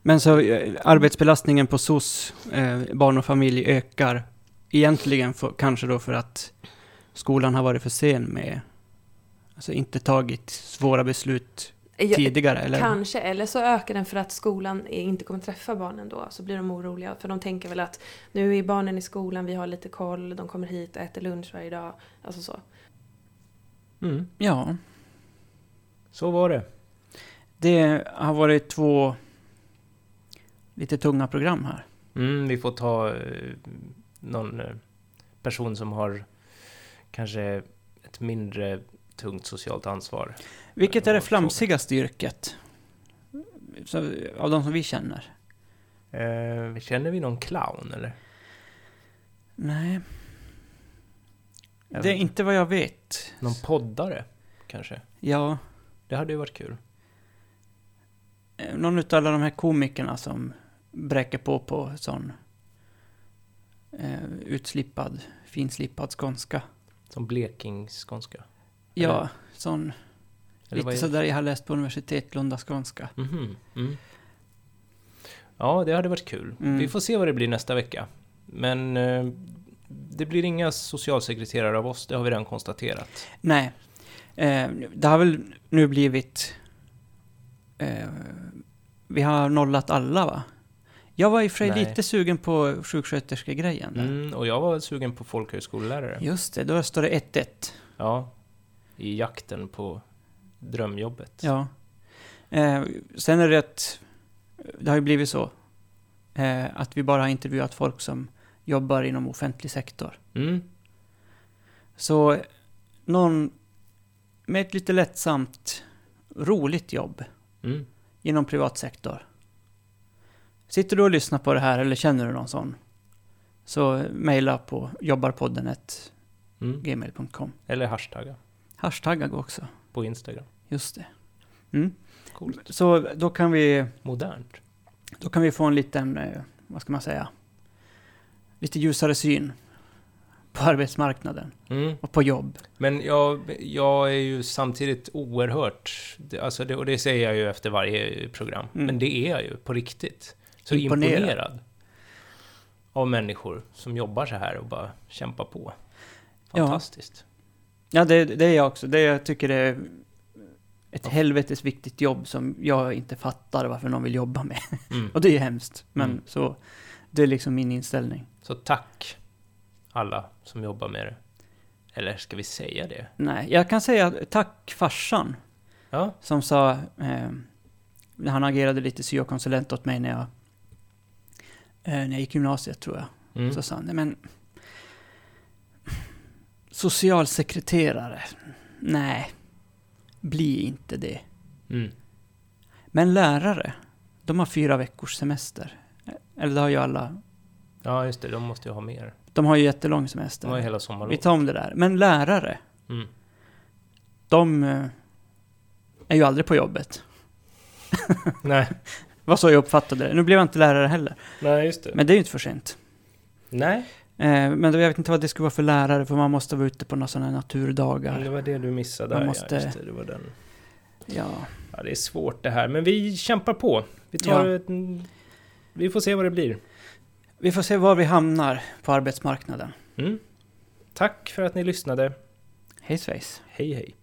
Speaker 2: men så eh, arbetsbelastningen på SOS, eh, barn och familj, ökar egentligen för, kanske då för att skolan har varit för sen med... Alltså inte tagit svåra beslut
Speaker 3: Jag,
Speaker 2: tidigare, eller?
Speaker 3: kanske, eller så ökar den för att skolan är- inte kommer träffa barnen då. Så blir de oroliga. För de tänker väl att nu är barnen i skolan, vi har lite koll, de kommer hit och äter lunch varje dag. Alltså så.
Speaker 1: Mm.
Speaker 2: Ja.
Speaker 1: Så var det.
Speaker 2: Det har varit två lite tunga program här.
Speaker 1: Mm, vi får ta eh, någon eh, person som har kanske ett mindre tungt socialt ansvar.
Speaker 2: Vilket är
Speaker 1: Det
Speaker 2: det
Speaker 1: var
Speaker 2: flamsigaste yrket? Så, av de som vi känner?
Speaker 1: Eh, känner vi någon clown eller?
Speaker 2: Nej.
Speaker 1: Jag
Speaker 2: Det är
Speaker 1: vet
Speaker 2: inte vad jag vet.
Speaker 1: Någon poddare kanske?
Speaker 2: Ja,
Speaker 1: Det hade ju varit kul.
Speaker 2: eh, någon utav alla de här komikerna som bräcker på på sån eh, utslippad, finslippad skånska.
Speaker 1: Som blekingsskånska.
Speaker 2: Ja,
Speaker 1: Eller-
Speaker 2: sån
Speaker 1: Eller vad
Speaker 2: lite
Speaker 1: är
Speaker 2: sådär jag har läst på universitet, Lunda skånska.
Speaker 1: Mhm, mm. Ja, det hade varit kul.
Speaker 2: Mm.
Speaker 1: Vi får se vad det blir nästa vecka. Men eh, det blir inga socialsekreterare av oss, det har vi redan konstaterat.
Speaker 2: Nej. Eh, det har väl nu blivit... Eh, vi har nollat alla, va? Jag var i och för sig
Speaker 1: Nej.
Speaker 2: lite sugen på sjuksköterskegrejen. där.
Speaker 1: Mm, och jag var sugen på folkhögskolelärare.
Speaker 2: Just det, då står det 1-1.
Speaker 1: Ja, i jakten på drömjobbet.
Speaker 2: Ja. Eh, sen är det att... Det har ju blivit så. Eh, att vi bara har intervjuat folk som jobbar inom offentlig sektor.
Speaker 1: Mm.
Speaker 2: Så någon med ett lite lättsamt, roligt jobb
Speaker 1: Mm.
Speaker 2: inom privat sektor. Sitter du och lyssnar på det här eller känner du någon sån? Så eh, mejla på jobbarpodden@gmail.com.
Speaker 1: Mm. Eller hashtagga
Speaker 2: Hashtagga går också.
Speaker 1: på Instagram.
Speaker 2: Just det. Mm.
Speaker 1: Coolt.
Speaker 2: Så då kan vi
Speaker 1: Modernt.
Speaker 2: Då kan vi få en liten, eh, vad ska man säga, lite ljusare syn på arbetsmarknaden
Speaker 1: Mm.
Speaker 2: och på jobb.
Speaker 1: Men jag, jag är ju samtidigt oerhört, det- alltså det, och det säger jag ju efter varje program,
Speaker 2: Mm.
Speaker 1: men det är jag ju på riktigt. Så
Speaker 2: Imponerad.
Speaker 1: imponerad. av människor som jobbar så här och bara kämpar på.
Speaker 2: Ja.
Speaker 1: Fantastiskt.
Speaker 2: Ja, det, det är jag också. Det jag tycker det är ett helvetes viktigt jobb som jag inte fattar varför någon vill jobba med.
Speaker 1: Mm.
Speaker 2: Och det är ju hemskt, men
Speaker 1: Mm.
Speaker 2: så det är liksom min inställning.
Speaker 1: Så tack alla som jobbar med det. Eller ska vi säga det?
Speaker 2: Nej, jag kan säga tack farsan
Speaker 1: Ja,
Speaker 2: som sa, eh, när han agerade lite syokonsulent åt mig när jag, eh, när jag gick gymnasiet tror jag.
Speaker 1: mm.
Speaker 2: Så sa han, "Nej, men... Socialsekreterare? Nej, bli inte det.
Speaker 1: Mm.
Speaker 2: Men lärare, de har fyra veckors semester. Eller det har ju alla.
Speaker 1: ja just det, de måste ju ha mer.
Speaker 2: De har ju jättelång
Speaker 1: De har ju
Speaker 2: semester.
Speaker 1: hela
Speaker 2: Vi
Speaker 1: sommarlovet.
Speaker 2: tar om det där. Men lärare,
Speaker 1: Mm.
Speaker 2: de eh, är ju aldrig på jobbet.
Speaker 1: Nej.
Speaker 2: Vad så jag uppfattade det. Nu blev jag inte lärare heller.
Speaker 1: Nej, just det.
Speaker 2: Men det är ju inte för sent.
Speaker 1: Nej,
Speaker 2: Eh, Men då- jag vet inte vad det skulle vara för lärare, för man måste vara ute på några sådana här naturdagar.
Speaker 1: det var det du missade.
Speaker 2: Man
Speaker 1: där,
Speaker 2: måste-
Speaker 1: Ja, just det, det var den.
Speaker 2: Ja.
Speaker 1: Ja, det är svårt det här, men vi kämpar på. Vi tar
Speaker 2: Ja.
Speaker 1: ett, Vi får se vad det blir.
Speaker 2: Vi får se var vi hamnar på arbetsmarknaden.
Speaker 1: Mm. Tack för att ni lyssnade.
Speaker 2: Hej svejs.
Speaker 1: Hej hej.